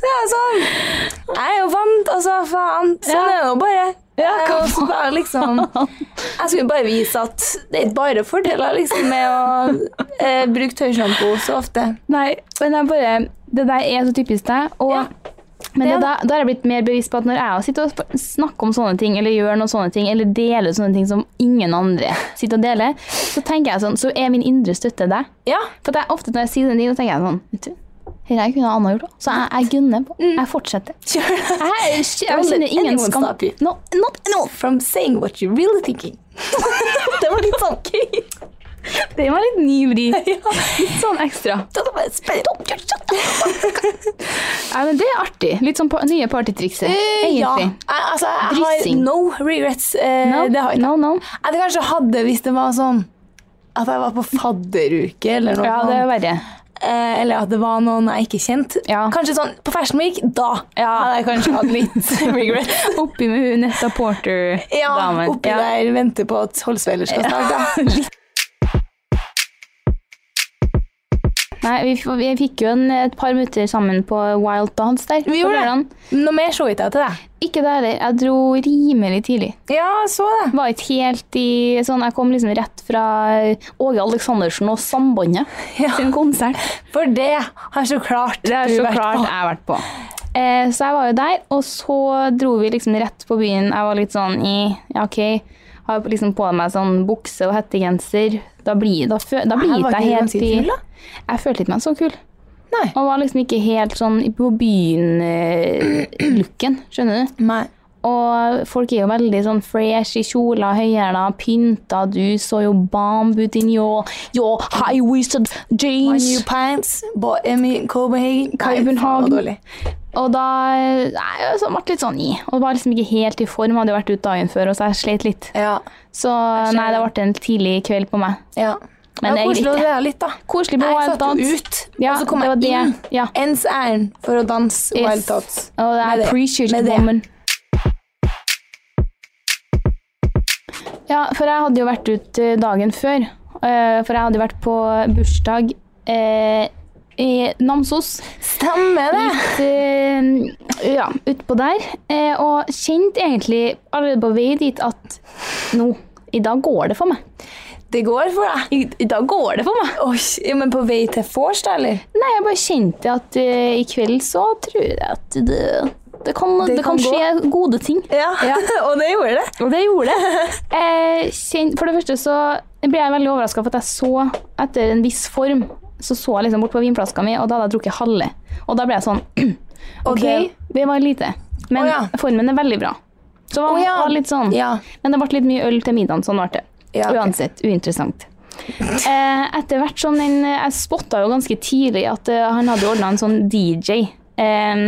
Så jeg er sånn Jeg er jo vant, altså. Faen. Sånn er det jo bare. Ja, Jeg hva må også bare liksom jeg skulle bare vise at det er ikke bare fordeler liksom, med å eh, bruke tørrsjampo så ofte. Nei, men jeg bare, det der er så typisk deg. Og, Ja. Men Det det, er da, da har jeg blitt mer bevisst på at når jeg sitter og sp- snakker om sånne ting, eller gjør noen sånne ting, eller deler sånne ting som ingen andre sitter og deler, så tenker jeg sånn, så er min indre støtte deg. Ja. For det er ofte når jeg sier den ting, så tenker jeg sånn, vet du, her jeg kunne Anna gjort også. Så jeg, jeg gunner på. Jeg fortsetter. Kjør Mm. det. Jeg, jeg, Don't let kjenner ingen anyone skam. stop you. No, not, No, from saying what you're really thinking. det var litt sånn gøy. det var litt ny vri. Ja. Litt sånn ekstra. Da var det spennende. Ja, men det er artig. Litt sånn pa nye partytrikset, Eh, Ja, egentlig. jeg, altså, jeg har Dryssing. no regrets. Eh, No, Det har jeg ikke. no, no. Jeg hadde kanskje hadde hvis det var sånn at jeg var på fadderuke eller noe Ja, det sånt. er verre. eh, eller at det var noen jeg ikke kjente. Ja. Kanskje sånn på Fashion Week, da hadde jeg kanskje hatt litt regret. Oppi med hun Netta Porter-damen. Ja, oppi der venter på at Holsveiler skal starte. Nei, vi, f- vi fikk jo en, et par minutter sammen på Wild Dance der. Vi på gjorde det. lørdagen. Noe mer så ikke jeg til deg. Ikke det heller. Jeg dro rimelig tidlig. Ja, så det. Var ikke helt i sånn Jeg kom liksom rett fra Åge Aleksandersen og Sambandet Ja. sin konsert. For det har så klart Det er du så vært klart på. jeg har vært på. Eh, så jeg var jo der, og så dro vi liksom rett på byen. Jeg var litt sånn i Ja, OK. Har liksom på meg sånn bukse og hettegenser. Da blir, da, fø- da blir Her var ikke jeg ikke du helt ganske i kul, da? Jeg følte ikke meg så kul. Nei. Og var liksom ikke helt sånn på byen-looken, skjønner du. Nei. Og folk er jo veldig sånn fresh i kjoler, høyhæla, pynta. Du så jo bomb ut in your, your high-waisted My jeans. new pants, bought in me- Copenhagen. Copenhagen. Nei, faen, det var dårlig. Og da nei, jeg ble litt sånn i. Og var liksom ikke helt i form. Hadde jo vært ute dagen før, og så jeg sleit litt. Ja. Så nei, det ble en tidlig kveld på meg. ja. Men det jeg var koselig å likte det. være litt, da. Koselig på Jeg Wild satt jo Dance. ut, Ja, og så kom det var jeg det. inn Ja. ens ærend for å danse Yes. Wild Tots. Og det Med er det. appreciate Med det. woman. Ja, for jeg hadde jo vært ut eh, dagen før. Eh, For jeg hadde jo vært på bursdag eh, i Namsos. Stemmer det! Litt eh, ja, utpå der. Eh, og kjente egentlig allerede på vei dit at nå, i dag går det for meg. Det går for deg. I, i dag går det for meg. Oi, ja, men på vei til vors, da, eller? Nei, jeg bare kjente at eh, i kveld så tror jeg at det, det kan, det Det kan kan skje gode ting. Ja, og det gjorde det. Og det gjorde det. Eh, kjen- for det første så ble jeg veldig overraska for at jeg så etter en viss form. Så så jeg liksom bort på vinflaska mi, og da hadde jeg drukket halve. Og da ble jeg sånn Og OK, det- det var lite. Men Å ja. formen er veldig bra. Så man Å ja. var litt sånn. Ja. Men det ble litt mye øl til middagen, sånn ble det. Ja, ok. Uansett, uinteressant. Eh, etter hvert sånn en, Jeg spotta jo ganske tidlig at eh, han hadde ordna en sånn DJ. Eh,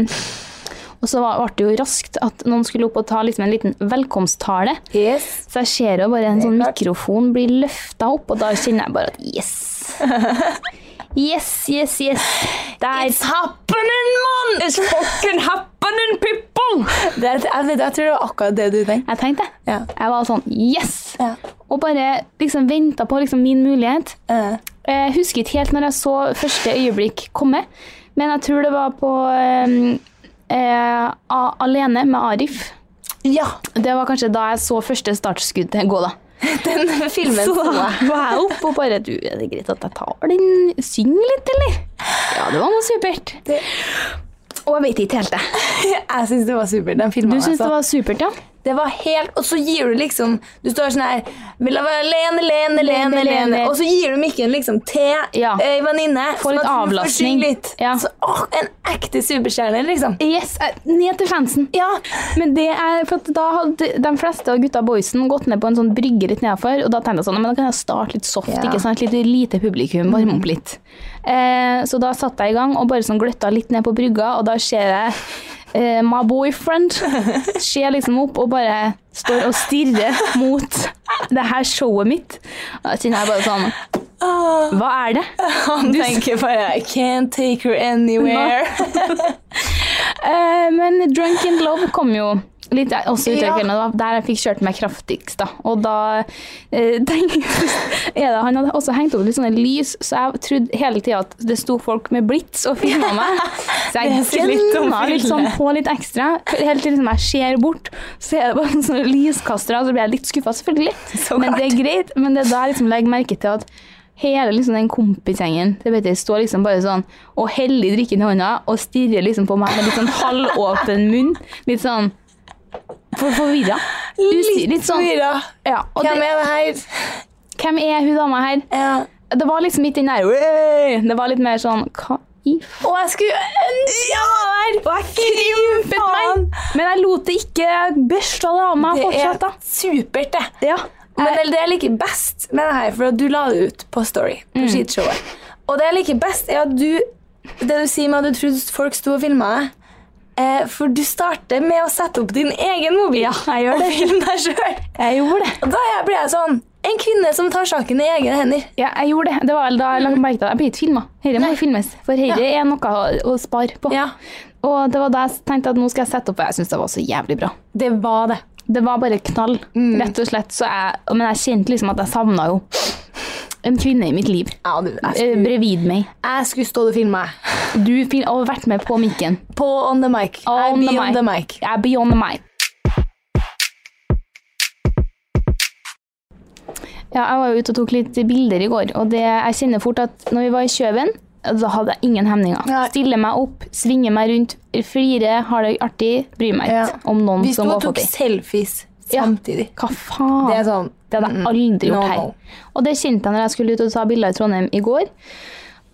og så var- ble det jo raskt at noen skulle opp og ta liksom en liten velkomsttale. Yes. Så jeg ser jo bare en sånn klart. mikrofon bli løfta opp, og da kjenner jeg bare at yes. Yes, yes, yes. Der. It's happening, man! It's fucking happening, people! Det, er- jeg, vet, jeg tror det var akkurat det du tenkte. Jeg tenkte det. Ja. Jeg var sånn yes! Ja. Og bare liksom venta på liksom min mulighet. Eh, Jeg husker ikke helt når jeg så første øyeblikk komme, men jeg tror det var på eh, eh, A- Alene med Arif. ja. Det var kanskje da jeg så første startskudd gå, da. Den filmen så jeg. var jeg oppe og bare Du, er det greit at jeg tar den? Syng litt, eller? Ja, det var noe supert. Det, Og jeg Altså vet ikke helt, det. jeg syns det var supert. Den filmen Du altså. syns det var supert, ja? Det var helt Og så gir du liksom Du står sånn her Vil jeg være alene, alene, alene, Alene, alene alene. Og så gir du mikken liksom til Ja. ei venninne. Få litt sånn at hun får avlastning. synge Litt. Ja. Så, åh, en ekte superstjerne, liksom. Yes, eh, ned til fansen. Ja. Men det er, for at da hadde de fleste av gutta boysen gått ned på en sånn brygge litt nedafor, og da tenkte jeg sånn, men da kan jeg starte litt soft, Ja. ikke sant? Litt lite publikum, varme opp litt. Eh, så da satt jeg i gang, og bare sånn gløtta litt ned på brygga, og da ser jeg eh, my boyfriend ser liksom opp og bare står og stirrer mot det her showet mitt. Og da kjenner jeg bare sånn, Åh, hva er det? han tenker bare I can't take her anywhere. Eh, men Drunk in Love kom jo litt der- også utover Ja. kvelden, og det var der jeg fikk kjørt meg kraftigst. da. Og da eh, tenk, er det, Han hadde også hengt opp litt sånne lys, så jeg trodde hele tida at det sto folk med blits og filma meg. Så jeg Det sier litt om gønna litt sånn på litt ekstra. Helt til liksom jeg ser bort, så er det bare sånne lyskastere, og så blir jeg litt skuffa, selvfølgelig. Så men klart. det er greit. Men det er da jeg liksom legger merke til at hele liksom den kompisgjengen til Petter står liksom bare sånn og heller drikken i hånda og stirrer liksom på meg med litt sånn halvåpen munn. Litt sånn for forvirra. Usikker. Litt sånn forvirra. ja, og Hvem det, er det her? Hvem er hun dama her? Ja. Det var liksom ikke den der «Wey!» Det var litt mer sånn Hva i f... Og jeg skulle ønske jeg var der! Og jeg krympet Faen! Men jeg lot det ikke Jeg børsta det av meg Det er fortsatt, da. supert, det. Ja. Men det- det jeg liker best med det her, for at du la det ut på Story, på Mm. skitshowet Og det jeg liker best, er at du Det du sier med at du trodde folk sto og filma deg, eh, for du starter med å sette opp din egen mobil Ja, jeg gjør og det. filme deg sjøl. Jeg gjorde det. Og da er jeg- blir jeg sånn En kvinne som tar saken i egne hender. Ja, jeg gjorde det. Det var vel da jeg la merke til at jeg blir ikke filma. Dette må filmes, for dette er noe å, å spare på. Ja, Og det var da jeg tenkte at nå skal jeg sette opp, og jeg syns det var så jævlig bra. det var det. Det var bare knall, Mm. rett og slett. Så jeg, men jeg kjente liksom at jeg savna jo en kvinne i mitt liv. Ja, du, jeg, eh, skulle, Brevid meg. jeg skulle stå og filme meg. Du fin- har vært med på mikken. På On The Mic. On jeg the blir mic. on the mic. Jeg er beyond meg. Ja, jeg var jo ute og tok litt bilder i går, og det, jeg kjenner fort at når vi var i Kjøben, da hadde jeg ingen hemninger. Nei. Stiller meg opp, svinger meg rundt, flirer, har det artig, bryr meg ikke Ja. om noen Vi sto som og går tok forbi. selfies Ja. samtidig. Hva faen? Det er sånn Ah. Det hadde jeg mm, aldri gjort no, her. no. Og det kjente jeg når jeg skulle ut og ta bilder i Trondheim i går.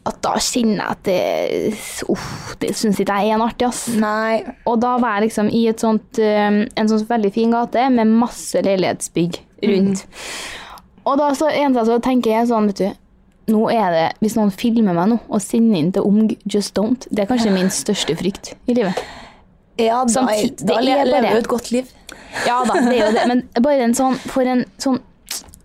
At da kjenner jeg at det Uff, det syns ikke jeg er en artig, ass. Nei. Og da var jeg liksom i et sånt, um, en sånn veldig fin gate med masse leilighetsbygg rundt. Og da så, eneste jeg så tenker jeg sånn, vet du nå er det, Hvis noen filmer meg nå og sender inn til OMG Just Don't, det er kanskje min største frykt i livet. Ja, da, Samtidig- da det er le- lever bare- du et godt liv. Ja da, det er jo det, men bare en sånn For en sånn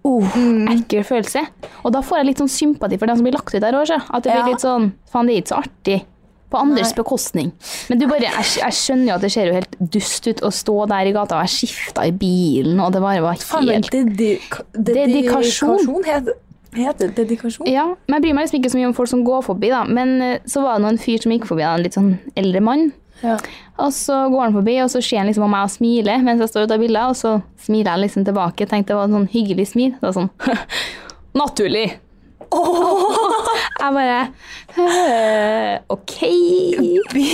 uh, Mm. ekkel følelse. Og da får jeg litt sånn sympati for dem som blir lagt ut der òg. At det blir Ja. litt sånn Faen, det er ikke så artig. På andres Nei. bekostning. Men du bare, jeg, jeg skjønner jo at det ser jo helt dust ut å stå der i gata, og jeg skifta i bilen, og det bare var Faen, men helt dedika- Dedikasjon. dedikasjon heter, heter det dedikasjon? ja, men Jeg bryr meg liksom ikke så mye om folk som går forbi, da. Men eh, så var det nå en fyr som gikk forbi, da, en litt sånn eldre mann. Ja. Og så går han forbi, og så ser han liksom på meg og smiler mens jeg står ute av bildet, og så smiler jeg liksom tilbake. Tenkte det var en sånn hyggelig smil. Det var sånn Naturlig! Jeg bare «Øh, OK,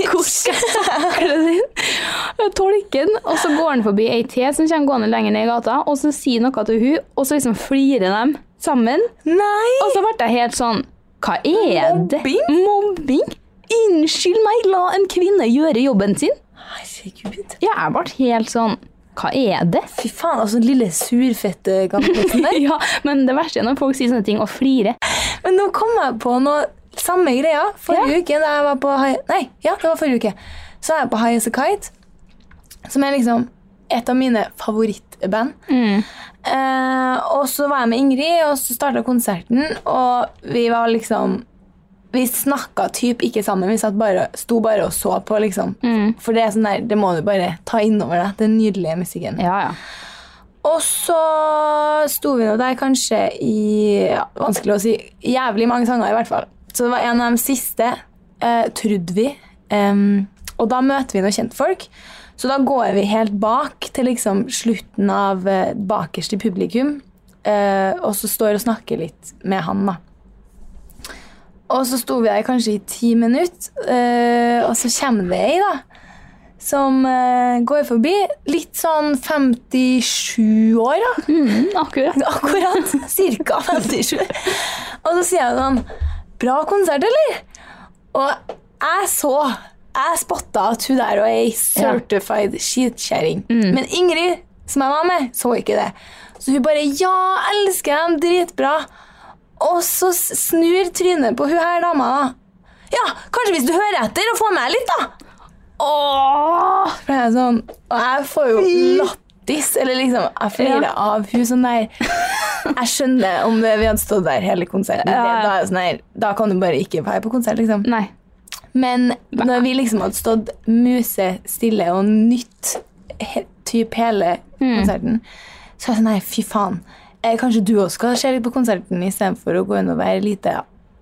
hvor skal jeg takle den? Tolken. Og så går han forbi ei til som kommer gående lenger ned i gata, og så sier noe til hun, og så liksom flirer de sammen. Nei! Og så ble jeg helt sånn Hva er det? Mobbing? Mobbing? Unnskyld meg, la en kvinne gjøre jobben sin? Herregud. Ja, jeg ble helt sånn Hva er det? Fy faen, altså den lille surfette gammelsen der. ja, men det verste er når folk sier sånne ting og flirer. Men nå kom jeg på noe samme greia. Forrige Ja. uke da jeg var på Hai... Nei, ja, det var forrige uke. Så er jeg på High As A Kite, som er liksom et av mine favorittband. Eh, og så var jeg med Ingrid, og så starta konserten, og vi var liksom vi snakka typ ikke sammen. Vi satt bare, sto bare og så på, liksom. For det er sånn der, det må du bare ta innover deg. Den nydelige musikken. Ja, ja. Og så sto vi nå der kanskje i ja, Vanskelig å si. Jævlig mange sanger, i hvert fall. Så det var en av de siste, eh, trodde vi. Em, og da møter vi noen kjentfolk. Så da går vi helt bak til liksom slutten av eh, bakerst i publikum. Eh, og så står og snakker litt med han, da. Og så sto vi der kanskje i ti minutter, eh, og så kommer det ei, da som eh, går forbi. Litt sånn 57 år, da. Mm, akkurat. Akkurat. Cirka 57. Og så sier jeg sånn Bra konsert, eller? Og jeg så Jeg spotta at hun der var ei certified skitkjerring. Men Ingrid, som jeg var med, så ikke det. Så hun bare Ja, elsker dem, dritbra. Og så s- snur trynet på hun her dama, da. Ja, kanskje hvis du hører etter og får med litt, da. Åh! For jeg er sånn, og jeg får jo lattis, eller liksom, jeg flirer Ja. av hun sånn der. Jeg skjønner om det, vi hadde stått der hele konserten. Ja, ja. Det, da, er jeg sånn der, da kan du bare ikke være på konsert, liksom. Nei. Men når vi liksom hadde stått musestille og nytt he, typ hele konserten, så er jeg sånn her, fy faen. Eh, kanskje du også skal se litt på konserten istedenfor å gå inn og være lite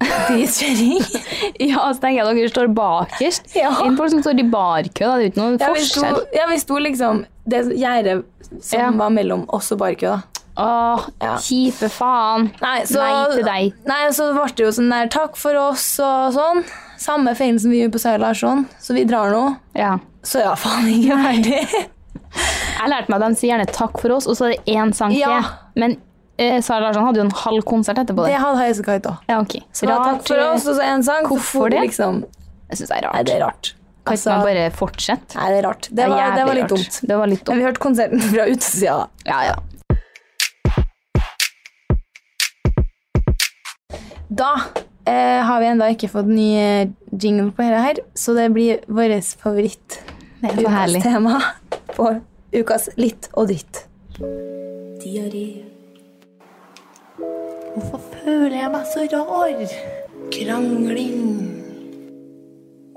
dritkjøring? Ja, så tenker jeg at dere står bakerst. Ja. Enn folk som står i barkø, da. Det er jo ikke noen Ja, vi sto, forskjell. ja, vi sto liksom Det gjerdet som Ja. var mellom oss og barkø, da. Åh, Ja. kjipe faen. Nei, så, Nei til deg. Nei, så ble det jo sånn der takk for oss og sånn. Samme feilen som vi gjorde på Sara Larsson, så vi drar nå. Ja. Så ja, faen ikke ferdig. Jeg lærte meg at de sier gjerne takk for oss, og så er det én sang Ja. til. Men eh, Sara Larsson hadde jo en halv konsert etterpå. Det Det. hadde Highasakite òg. Ja, ok. Så da, takk for oss, og så en sang. Hvorfor det? Liksom, Jeg syns det er nei, rart. det er rart. Kan Altså, ikke man bare fortsette? Nei, det er rart. Det var, det jævlig var litt rart. dumt. Det var litt Men dumt. vi hørte konserten fra utesida. Ja, ja. Da eh, har vi ennå ikke fått ny eh, jingle på dette her, så det blir vårt favoritt. Det er så ukas herlig. tema på ukas litt og dritt. Hvorfor føler jeg meg så rar? Krangling.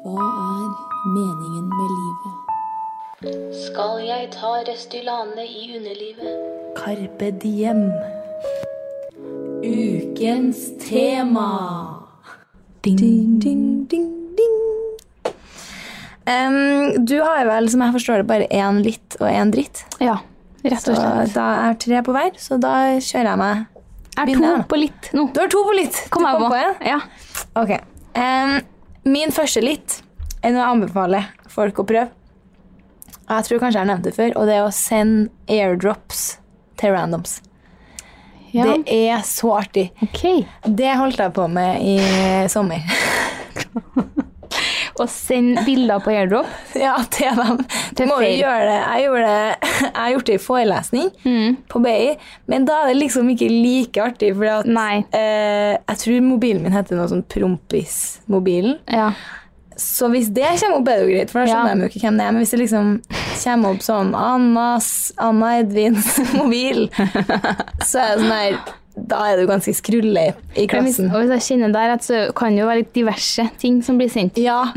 Hva er meningen med livet? Skal jeg ta Restylane i underlivet? Carpe diem. Ukens tema. Ding, ding, ding, ding. Um, du har vel, som jeg forstår det, bare én litt og én dritt. Ja, rett Så og slett. da er tre på hver, så da kjører jeg meg Jeg er to begynner jeg. på litt nå. Du har to på litt. Kom du jeg kom på en. på. Ja. Ok. Em, min første litt er noe jeg anbefaler folk å prøve. Og Jeg tror kanskje jeg har nevnt det før, og det er å sende airdrops til randoms. ja. Det er så artig. OK. Det holdt jeg på med i sommer. Og send bilder på airdrop. ja, til dem. Du Til må jo feil. gjøre det. Jeg gjorde det. Jeg har gjort det i forelesning Mm. på BI, men da er det liksom ikke like artig, fordi at Nei. eh, jeg tror mobilen min heter noe sånn Prompis-mobilen. Ja. Så hvis det kommer opp, er det jo greit, for da skjønner Ja. jeg jo ikke hvem det er. Men hvis det liksom kommer opp sånn Annas, Anna Edvins mobil, så er det sånn her Da er du ganske skrulle i Men Hvis, klassen. og hvis jeg kjenner der, at så kan det jo være litt diverse ting som blir sendt. Ja.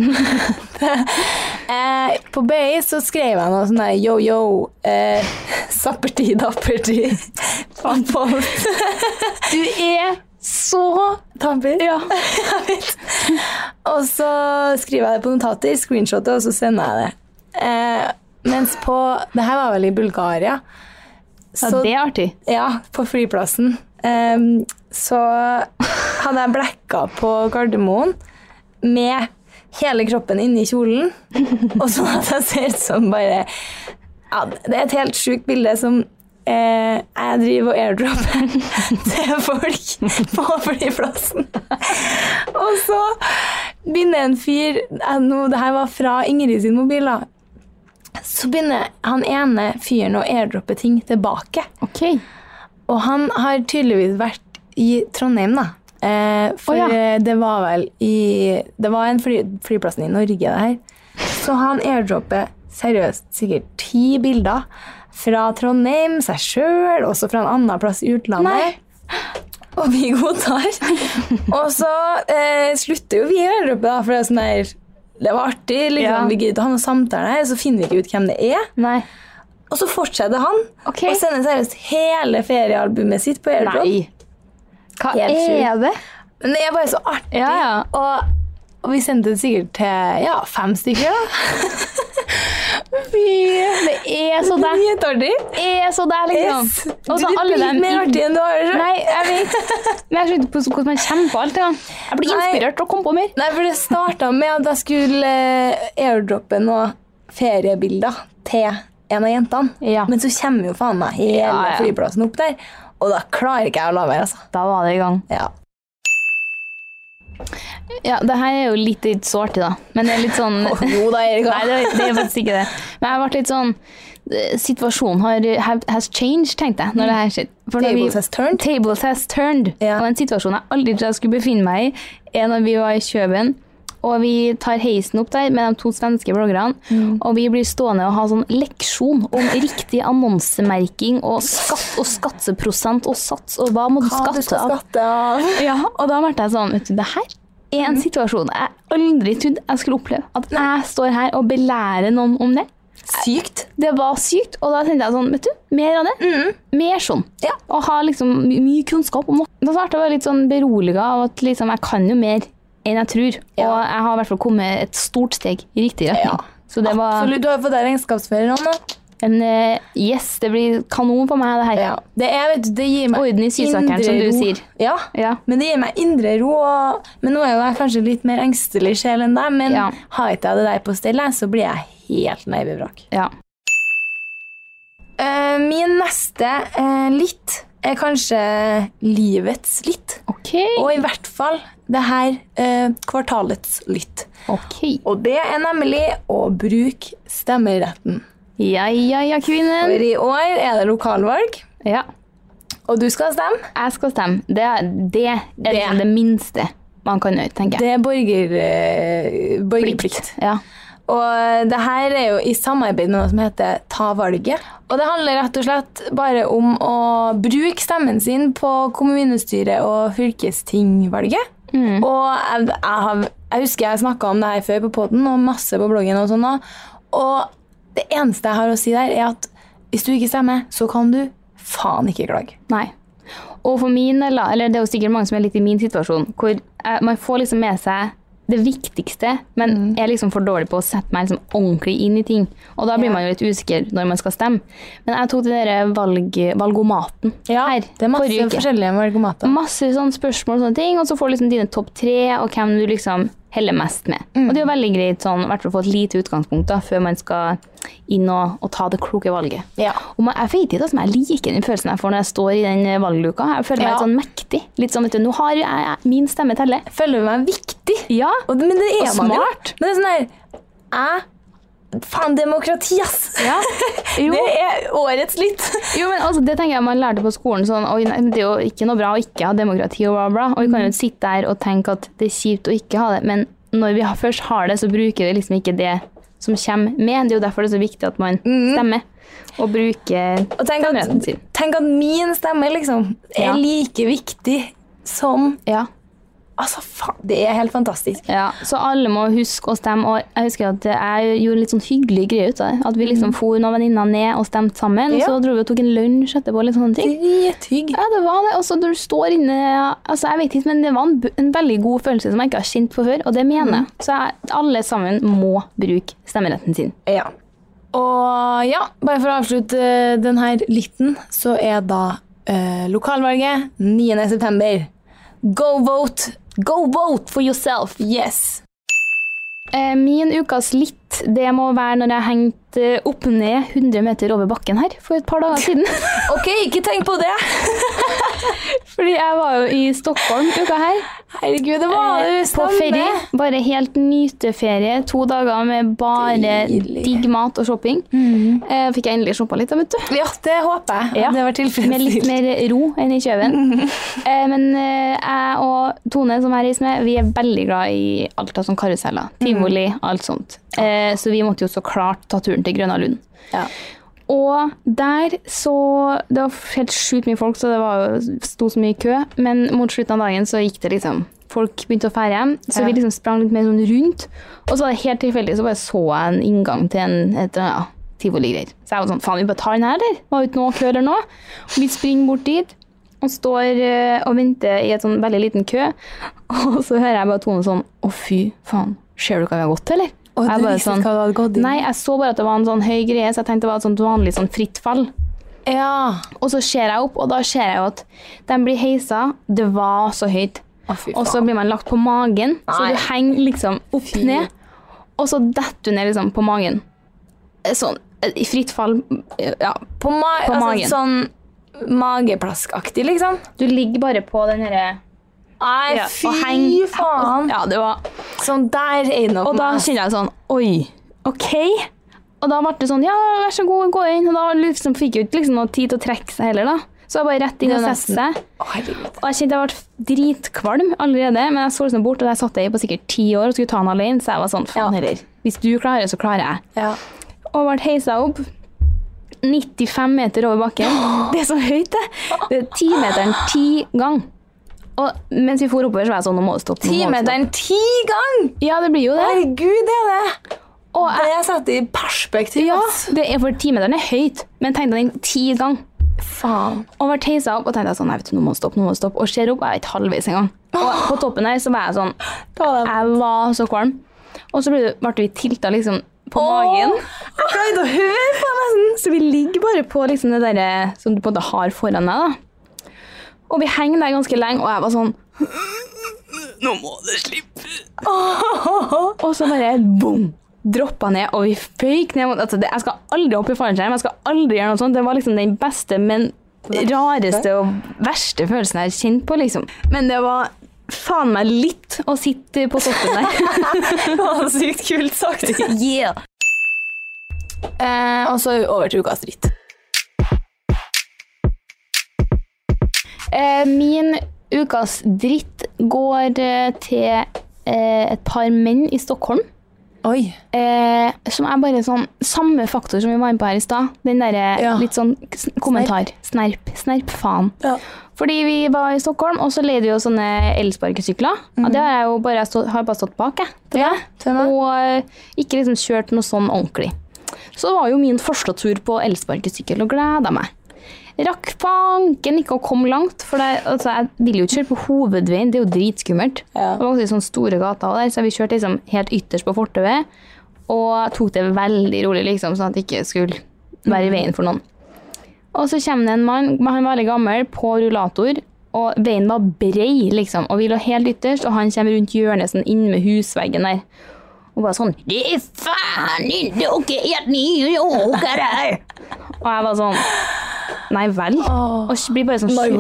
eh, på BI så skrev jeg noe sånn der yo-yo, eh, sappertid, dappertid, pampolt, Du er så tamper. Ja. Og så skriver jeg det på notater, screenshotet, og så sender jeg det. Eh, mens på Det her var vel i Bulgaria. ja Så, det er artig. ja, på flyplassen. Em, så hadde jeg blekka på Gardermoen med hele kroppen inni kjolen. Og så at jeg ser ut som bare ja, Det er et helt sjukt bilde som eh, jeg driver og airdropper til folk på flyplassen. Og så begynner en fyr eh, nå, Det her var fra Ingrid sin mobil, da. Så begynner han ene fyren å airdroppe ting tilbake. OK. Og han har tydeligvis vært i Trondheim, da. Eh, for Å, ja. eh, det var vel i Det var en fly, flyplassen i Norge, det her. Så han airdropper seriøst sikkert ti bilder fra Trondheim, seg sjøl, også fra en annen plass i utlandet. Og vi godtar. og så eh, slutter jo vi å airdroppe, da, for det er sånn der Det var artig, liksom. Ja. Vi gidder å ha noen samtaler her, så finner vi ikke ut hvem det er. Nei. Og så fortsetter han Ok. og sender seriøst hele feriealbumet sitt på airdrop. Nei. Hva Helt sjukt. er det? Men det er bare så artig. Ja, ja. Og, og vi sendte det sikkert til ja, fem stykker. da. Fy, Det er så deg. Dritartig. Det er så deg, liksom. Yes. Du Og så blir alle dem mer i- artig enn du har det selv. Nei, jeg vet. Men jeg skjønner ikke på- hvordan man kommer på alt. Ja. Jeg blir Nei. inspirert til å komme på mer. Nei, for det starta med at jeg skulle eh, airdroppe noen feriebilder til en av jentene. Ja. Men så kommer jo faen meg hele Ja, ja. flyplassen opp der, og da klarer ikke jeg å la være, altså. Da var det i gang. Ja. Ja, det her er jo litt, litt så artig, da. Men det er litt sånn Å, jo da, Erika. Nei, det, det er faktisk ikke det. Men jeg ble litt sånn eh, Situasjonen har, have- has changed, tenkte jeg. Når det her skjedde. For når vi- Tables has turned. Tables has turned. Ja. Og en situasjon jeg aldri trodde jeg skulle befinne meg i, er når vi var i Kjøben. Og vi tar heisen opp der med de to svenske bloggerne. Mm. Og vi blir stående og ha sånn leksjon om riktig annonsemerking og skatt og skatteprosent og sats og hva må du Hva du skatte skal av. skatte av. Ja, og da ble jeg sånn, vet du, det her er Mhm. en situasjon jeg aldri trodde jeg skulle oppleve. At jeg står her og belærer noen om det. Sykt. Det var sykt, og da tenkte jeg sånn, vet du, mer av det. Mer sånn. Mhm. Ja. Og ha liksom my mye kunnskap om det. Da startet jeg å være litt sånn beroliget av at liksom, jeg kan jo mer enn jeg tror. Ja. Og jeg har i hvert fall kommet et stort steg i riktig retning. Ja. Så det var Absolutt. Du har jo fått deg regnskapsfører nå. nå. en eh, yes, det blir kanon for meg det her. Ja. Det, er, vet du, det gir meg Orden i sysakeren, som du sier. Ja. Ja. Men det gir meg indre ro. Og, men nå er jo jeg kanskje litt mer engstelig sjel enn deg, men Ja. har ikke jeg det der på stell, så blir jeg helt nervevrak. Ja. Eh, min neste eh, litt er kanskje livets litt. Ok, Og i hvert fall det her eh, kvartalets lytt. ok. Og det er nemlig å bruke stemmeretten. Ja, ja, ja, kvinnen. For i år er det lokalvalg, Ja. og du skal stemme. Jeg skal stemme. Det, er- det er Det. liksom det minste man kan gjøre, tenker jeg. Det er borger, eh, borgerplikt. Ja. Og det her er jo i samarbeid med noe som heter Ta valget. Og det handler rett og slett bare om å bruke stemmen sin på kommunestyre- og fylkestingvalget. Og jeg, jeg, har, jeg husker jeg snakka om det her før på poden og masse på bloggen. Og sånn også. Og det eneste jeg har å si der, er at hvis du ikke stemmer, så kan du faen ikke klage. Nei. Og for min del, da, eller det er jo sikkert mange som er litt i min situasjon, hvor eh, man får liksom med seg det viktigste, men Mm. er liksom for dårlig på å sette meg liksom ordentlig inn i ting. Og da blir man jo litt usikker når man skal stemme. Men jeg tok den der valg, valgomaten her det er masse forrige uke. forskjellige valgomater. Masse sånne spørsmål og sånne ting, og så får du liksom dine topp tre og hvem du liksom heller mest med. Og det er jo veldig greit sånn, i hvert fall å få et lite utgangspunkt da, før man skal inn og, og ta det kloke valget. Ja. Og man, jeg vet ikke, altså, men jeg liker den følelsen jeg får når jeg står i den eh, valgluka. Jeg føler meg Ja. litt sånn mektig. Litt sånn, vet du, nå har jeg, jeg min stemme teller. Føler du meg viktig? Ja. Og, det- men det er Og man jo. smart. Men det er sånn her Jeg Faen, demokrati, ass! Jo. Det er årets litt. Jo, men altså, det tenker jeg man lærte på skolen. Sånn, Oi, nei, det er jo ikke noe bra å ikke ha demokrati og bla, bla. Og vi kan jo sitte der og tenke at det er kjipt å ikke ha det, men når vi har, først har det, så bruker vi liksom ikke det som kommer med. Det er jo derfor det er så viktig at man stemmer og bruker Og tenk stemmeretten at, sin. tenk at min stemme liksom er Ja. like viktig som Ja. Altså, faen, det er helt fantastisk. ja. Så alle må huske å stemme. Og jeg husker at jeg gjorde litt sånn hyggelig greie ut av det. At vi liksom for noen venninner ned og stemte sammen. Ja. Og så dro vi og tok en lunsj etterpå. og Litt sånne ting. Drithygg. Ja, det var det. Og så når du står inne altså jeg vet ikke, men Det var en, bu- en veldig god følelse som jeg ikke har kjent på før, og det mener jeg. Så jeg, alle sammen må bruke stemmeretten sin. Ja. Og ja, bare for å avslutte denne liten, så er da eh, lokalvalget 9. september. Go vote! Go vote for yourself! Yes! Eh, Min ukas litt, det må være når jeg hengte opp ned 100 meter over bakken her for et par dager siden. Ok, ikke tenk på det! Fordi jeg var jo i Stockholm uka her. Herregud, det var eh, jo på stemme. ferie. Bare helt nyteferie. To dager med bare Deilig. digg mat og shopping. Eh, Fikk jeg endelig shoppa litt, da, vet du. Ja, det håper jeg. Ja. Det var Med litt tilfredsstilt. mer ro enn i kjøven. Eh, men eh, jeg og Tone, som jeg reiser med, vi er veldig glad i alt av sånn karuseller. Tivoli, alt sånt. Eh, så vi måtte jo så klart ta turen til Grønna Lund. Ja. Og der så Det var helt sjukt mye folk, så det var, sto så mye i kø. Men mot slutten av dagen så gikk det liksom Folk begynte å ferde hjem, så Ja. vi liksom sprang litt mer sånn rundt. Og så var det helt tilfeldig, så bare så jeg en inngang til en et, ja, tivoligreier. Så jeg var sånn Faen, vi bare tar den her, eller? Var det ikke noe kø eller noe? Og vi springer bort dit og står eh, og venter i et sånn veldig liten kø. Og så hører jeg bare Tone sånn Å, fy faen. Ser du hva vi har gått til, eller? Og Jeg du bare sånn, visste ikke hva du hadde gått i. Nei, jeg så bare at det var en sånn høy greie, så jeg tenkte det var et sånt vanlig sånn fritt fall. Ja. Og så ser jeg opp, og da ser jeg jo at de blir heisa. Det var så høyt. Å, fy Og så blir man lagt på magen, så du henger liksom opp Fy. ned. Og så detter du ned liksom på magen. Eh, Sånn eh, i fritt fall. eh, Ja. På, ma På magen. altså, Sånn mageplaskaktig, liksom. Du ligger bare på den herre Nei, Ja, fy og heng- faen! Ja, det var Sånn der er det nok Og da meg. kjenner jeg sånn Oi, OK? Og da ble det sånn Ja, vær så god, gå inn. Og da liksom fikk jeg ikke liksom noe tid til å trekke seg heller, da. Så jeg bare rett inn Det er og sette nesten- seg. Å, herregud. Og jeg kjente jeg ble dritkvalm allerede, men jeg så liksom bort, og der satt jeg på sikkert ti år og skulle ta den alene, så jeg var sånn, faen Ja. heller, hvis du klarer, så klarer jeg. Ja. Og ble heisa opp, 95 meter over bakken. Det er så høyt det. Det er 10 meteren, 10 gang. Og mens vi for oppover, så var jeg sånn, nå må det stoppe. nå må det stoppe. Timeteren ti gang! Ja, det blir jo det. Herregud, det er det! Og Det jeg, er satt i perspektiv. ja, ass. det er for 10 meteren er høyt, men tenkte jeg den 10 gang. Faen. Og ble heisa opp, og tenkte jeg sånn, nei, vet du, nå må det stoppe, nå må det stoppe. Og ser opp, jeg er ikke halvveis engang. Og på toppen der, så var jeg sånn, Jeg var så kvalm. Og så ble, det- ble vi tilta liksom på magen. Jeg pleide å høre på nesten. Så vi ligger bare på liksom det der som du på en måte har foran deg. da. Og vi henger der ganske lenge, og jeg var sånn Nå må det slippe. og så bare boom! Droppa ned, og vi føyk ned mot altså, det, Jeg skal aldri hoppe i fallskjerm. Jeg skal aldri gjøre noe sånt. Det var liksom den beste, men rareste og verste følelsen jeg har kjent på, liksom. Men det var faen meg litt å sitte på toppen der. Det var sykt kult sagt. yeah. Eh, og så over til ukas dritt. Eh, min ukas dritt går eh, til eh, et par menn i Stockholm Oi. eh, som er bare sånn Samme faktor som vi var inne på her i stad. Den derre Ja. litt sånn s- kommentar. Snerp. Snerp, faen. Ja. Fordi vi var i Stockholm, og så leide vi jo sånne elsparkesykler. Og det har jeg jo bare, jeg stå, har bare stått bak, jeg. til Mm. Ja, det. til meg. og eh, ikke liksom kjørt noe sånn ordentlig. Så det var jo min første tur på elsparkesykkel, og gleda meg. Rakk fanken ikke å komme langt, for det, altså, jeg ville jo ikke kjøre på hovedveien, det er jo dritskummelt. Ja. Det var også sånne store gater også der, så vi kjørte liksom helt ytterst på fortauet. Og tok det veldig rolig, liksom, sånn at det ikke skulle være i veien for noen. Og så kommer det en mann, men han var veldig gammel, på rullator. Og veien var brei, liksom. Og vi lå helt ytterst, og han kommer rundt hjørnet sånn inn med husveggen der. Og bare sånn Det er faen ikke dere at ni åker her! Og jeg var sånn Nei vel? Og så blir bare sånn sur. Vi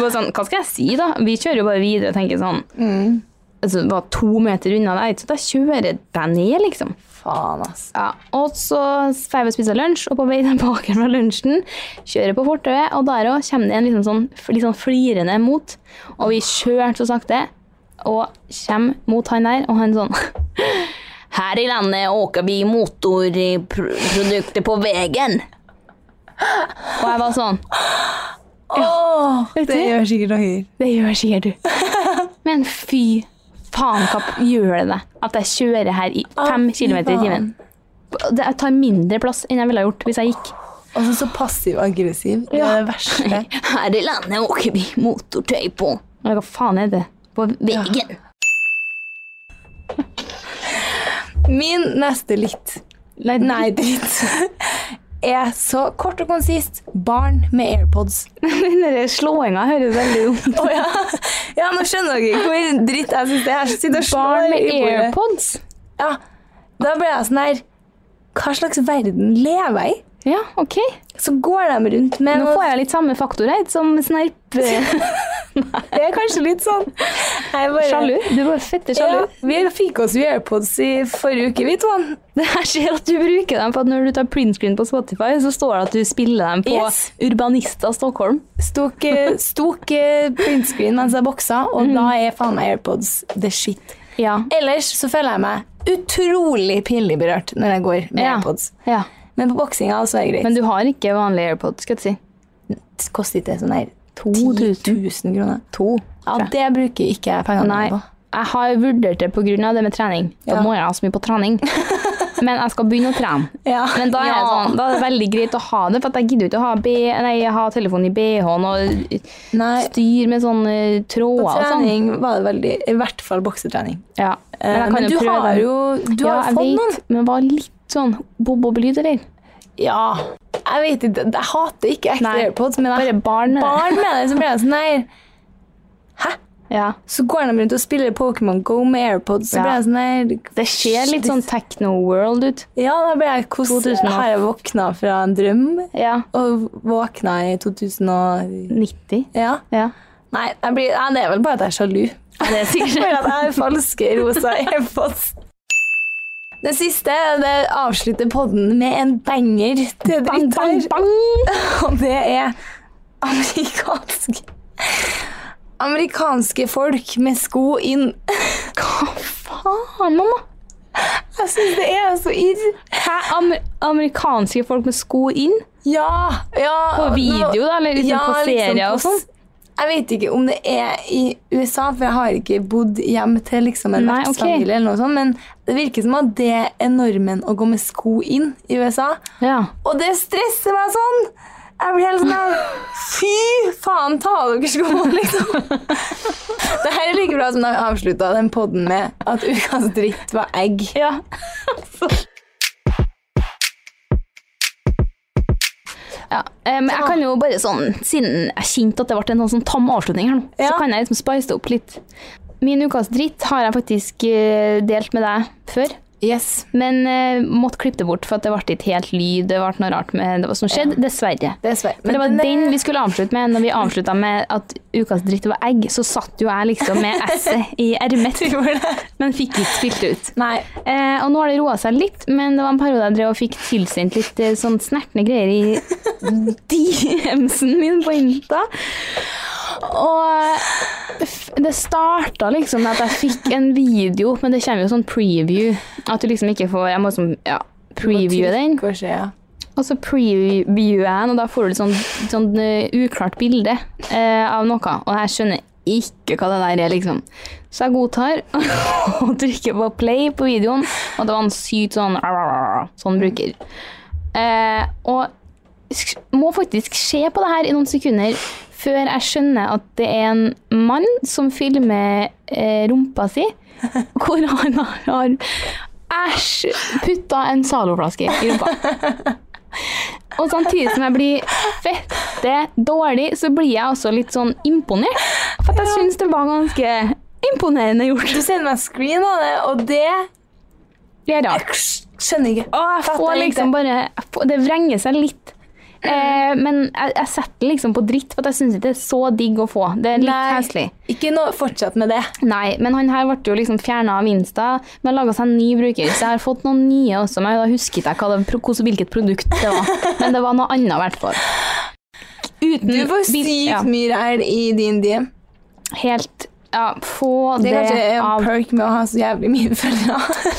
bare sånn, Hva skal jeg si, da? Vi kjører jo bare videre og tenker sånn altså, Det var to meter unna deg, så da kjører jeg deg ned, liksom. Faen, ass. Ja, og så får vi spise lunsj, og på vei tilbake fra lunsjen kjører jeg på fortauet, og der også kommer det en liksom sånn, litt sånn flirende mot. Og vi kjørte så sakte, og kommer mot han der, og han sånn Her i landet åker vi motorprodukter på veien. Og jeg var sånn Åh, Vet det du? gjør sikkert noe. Det gjør sikkert du. Men fy faen, hva p- gjør det deg at jeg kjører her i fem fy kilometer i timen? Det jeg tar mindre plass enn jeg ville ha gjort hvis jeg gikk. Og så så passiv-aggressiv. Det er det verste. Her i landet åker vi motortøy på. Hva faen er det? På veggen. Min neste litt Nei, Nei, dritt. Er så kort og konsist barn med airpods. den der slåinga høres veldig dumt Å ja. ja, nå skjønner dere hvor dritt jeg syns det er. Jeg sitter og slår Barn med i bordet. airpods? Ja. Da ble jeg sånn her Hva slags verden lever jeg i? Ja, OK. Så går de rundt med Nå noe- får jeg litt samme faktor her som snerp. eh, Det er kanskje litt sånn. Jeg er bare- Sjalu. Du er bare fette sjalu. Ja, vi fikk oss jo airpods i forrige uke, vi to. han. Jeg ser at du bruker dem, for at når du tar printscreen på Spotify, så står det at du spiller dem på Yes. Urbanista Stockholm. Stok, eh, stok eh, printscreen mens jeg boksa, og Mhm. da er faen meg airpods the shit. Ja. Ellers så føler jeg meg utrolig pinlig berørt når jeg går med Ja. airpods. Men på boksinga så er det greit. Men du har ikke vanlig AirPod, skal jeg si. det koster ikke sånn her 2000. 10 000 kroner. Ja, tror jeg. det bruker ikke jeg pengene Nei. mine på. Jeg har vurdert det pga. det med trening. Da Ja. må jeg ha så mye på trening. Men jeg skal begynne å trene. Ja. Men da er, det Ja. sånn, da er det veldig greit å ha det, for at jeg gidder jo ikke å ha, B, nei, ha telefonen i BH-en og Nei. styre med sånne tråder På og sånn. trening var det veldig I hvert fall boksetrening. Ja. Eh, jeg kan jo men du prøve har dem. jo du ja, har jeg fått vet, noen. Men var litt sånn bob-bob-lyd, eller? Ja. Jeg vet ikke, jeg hater ikke ekte Nei. airpods, men jeg Bare barn. eller? barn med det, så blir jeg sånn her Ja. Så går de rundt og spiller Pokémon Go med airpods, så Ja. blir jeg sånn her Det ser litt sånn techno-world ut. Ja, da blir jeg hvordan 2008. Har jeg våkna fra en drøm? Ja. Og våkna i 2000 og 90. Ja. Ja. Nei, jeg blir, ja, det er vel bare at jeg er sjalu. Det er sikkert Bare at jeg har falske rosa airpods. Det siste det avslutter podden med en banger til Bang, dritt bang, her. bang! Og det er amerikansk Amerikanske folk med sko inn. Hva faen, mamma? Jeg syns det er så irr. Hæ? Amer amerikanske folk med sko inn? Ja, ja. På video, da? Eller liksom på serier liksom på og sånn? s- Jeg vet ikke om det er i USA, for jeg har ikke bodd hjem til liksom en Nei, ok. vertsfamilie. eller noe sånt, Men det virker som at det er normen å gå med sko inn i USA. Ja. Og det stresser meg sånn! Jeg blir helt sånn her, Fy faen, ta av dere skoene, liksom. Det her er like bra som da vi avslutta den podden med at ukas dritt var egg. ja. Ja, eh, men jeg kan jo bare sånn, Siden jeg kjente at det ble en sånn, sånn tam avslutning her nå, Ja. så kan jeg liksom spice det opp litt. Min ukas dritt har jeg faktisk eh, delt med deg før. Yes. Men eh, måtte klippe det bort, for at det ble ikke helt lyd. Det ble noe rart med det som skjedde. Dessverre. Dessverre. Men det var den er- eh, den vi skulle avslutte med. Når vi avslutta med at ukas dritt var egg, så satt jo jeg liksom med esset i ermet, men fikk ikke spilt det ut. Nei. Eh, og nå har det roa seg litt, men det var en periode jeg drev og fikk tilsendt litt eh, sånn snertne greier i DM-en min på Insta. Og f- det starta liksom med at jeg fikk en video, men det kommer jo sånn preview. At du liksom ikke får Jeg må liksom ja, previewe den. Hva skjer, ja. Og så previewer jeg den, og da får du et sånn, sånn eh, uklart bilde eh, av noe. Og jeg skjønner ikke hva det der er, liksom. Så jeg godtar og trykker på play på videoen, og det var en sykt sånn sånn bruker. Eh, og sk- må faktisk se på det her i noen sekunder før jeg skjønner at det er en mann som filmer eh, rumpa si, hvor han har, har æsj, putta en Zalo-flaske i rumpa. Og samtidig som jeg blir fette dårlig, så blir jeg også litt sånn imponert. For at jeg syns det var ganske imponerende gjort. Du sender meg screen av det, og det Det er rart. skjønner jeg ikke. Og jeg får liksom bare jeg får- Det vrenger seg litt. Eh, men jeg, jeg setter det liksom på dritt, for at jeg syns ikke det er så digg å få. Det er litt Nei. heslig. Ikke noe, fortsett med det. Nei, men han her ble jo liksom fjerna av Insta, men laga seg en ny bruker. Så jeg har fått noen nye også, men da husket jeg hva det, hvilket- hvilket produkt det var. Men det var noe annet, i hvert fall. Uten Du får bil- Mm, sykt ja. mye ræl i din DM. helt ja, Få Det det, er kanskje en av perk med å ha så jævlig mye følgere.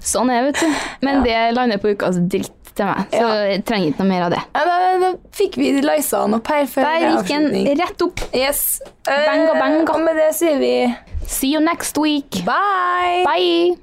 Sånn er det, vet du. Men det lander på ukas dritt til meg, så jeg trenger ikke noe mer av det. Ja, da, da fikk vi Liza han opp her før Der gikk en avslutning. rett opp. Yes. Bang og bang. Eh, Og med det sier vi See you next week. bye. Bye.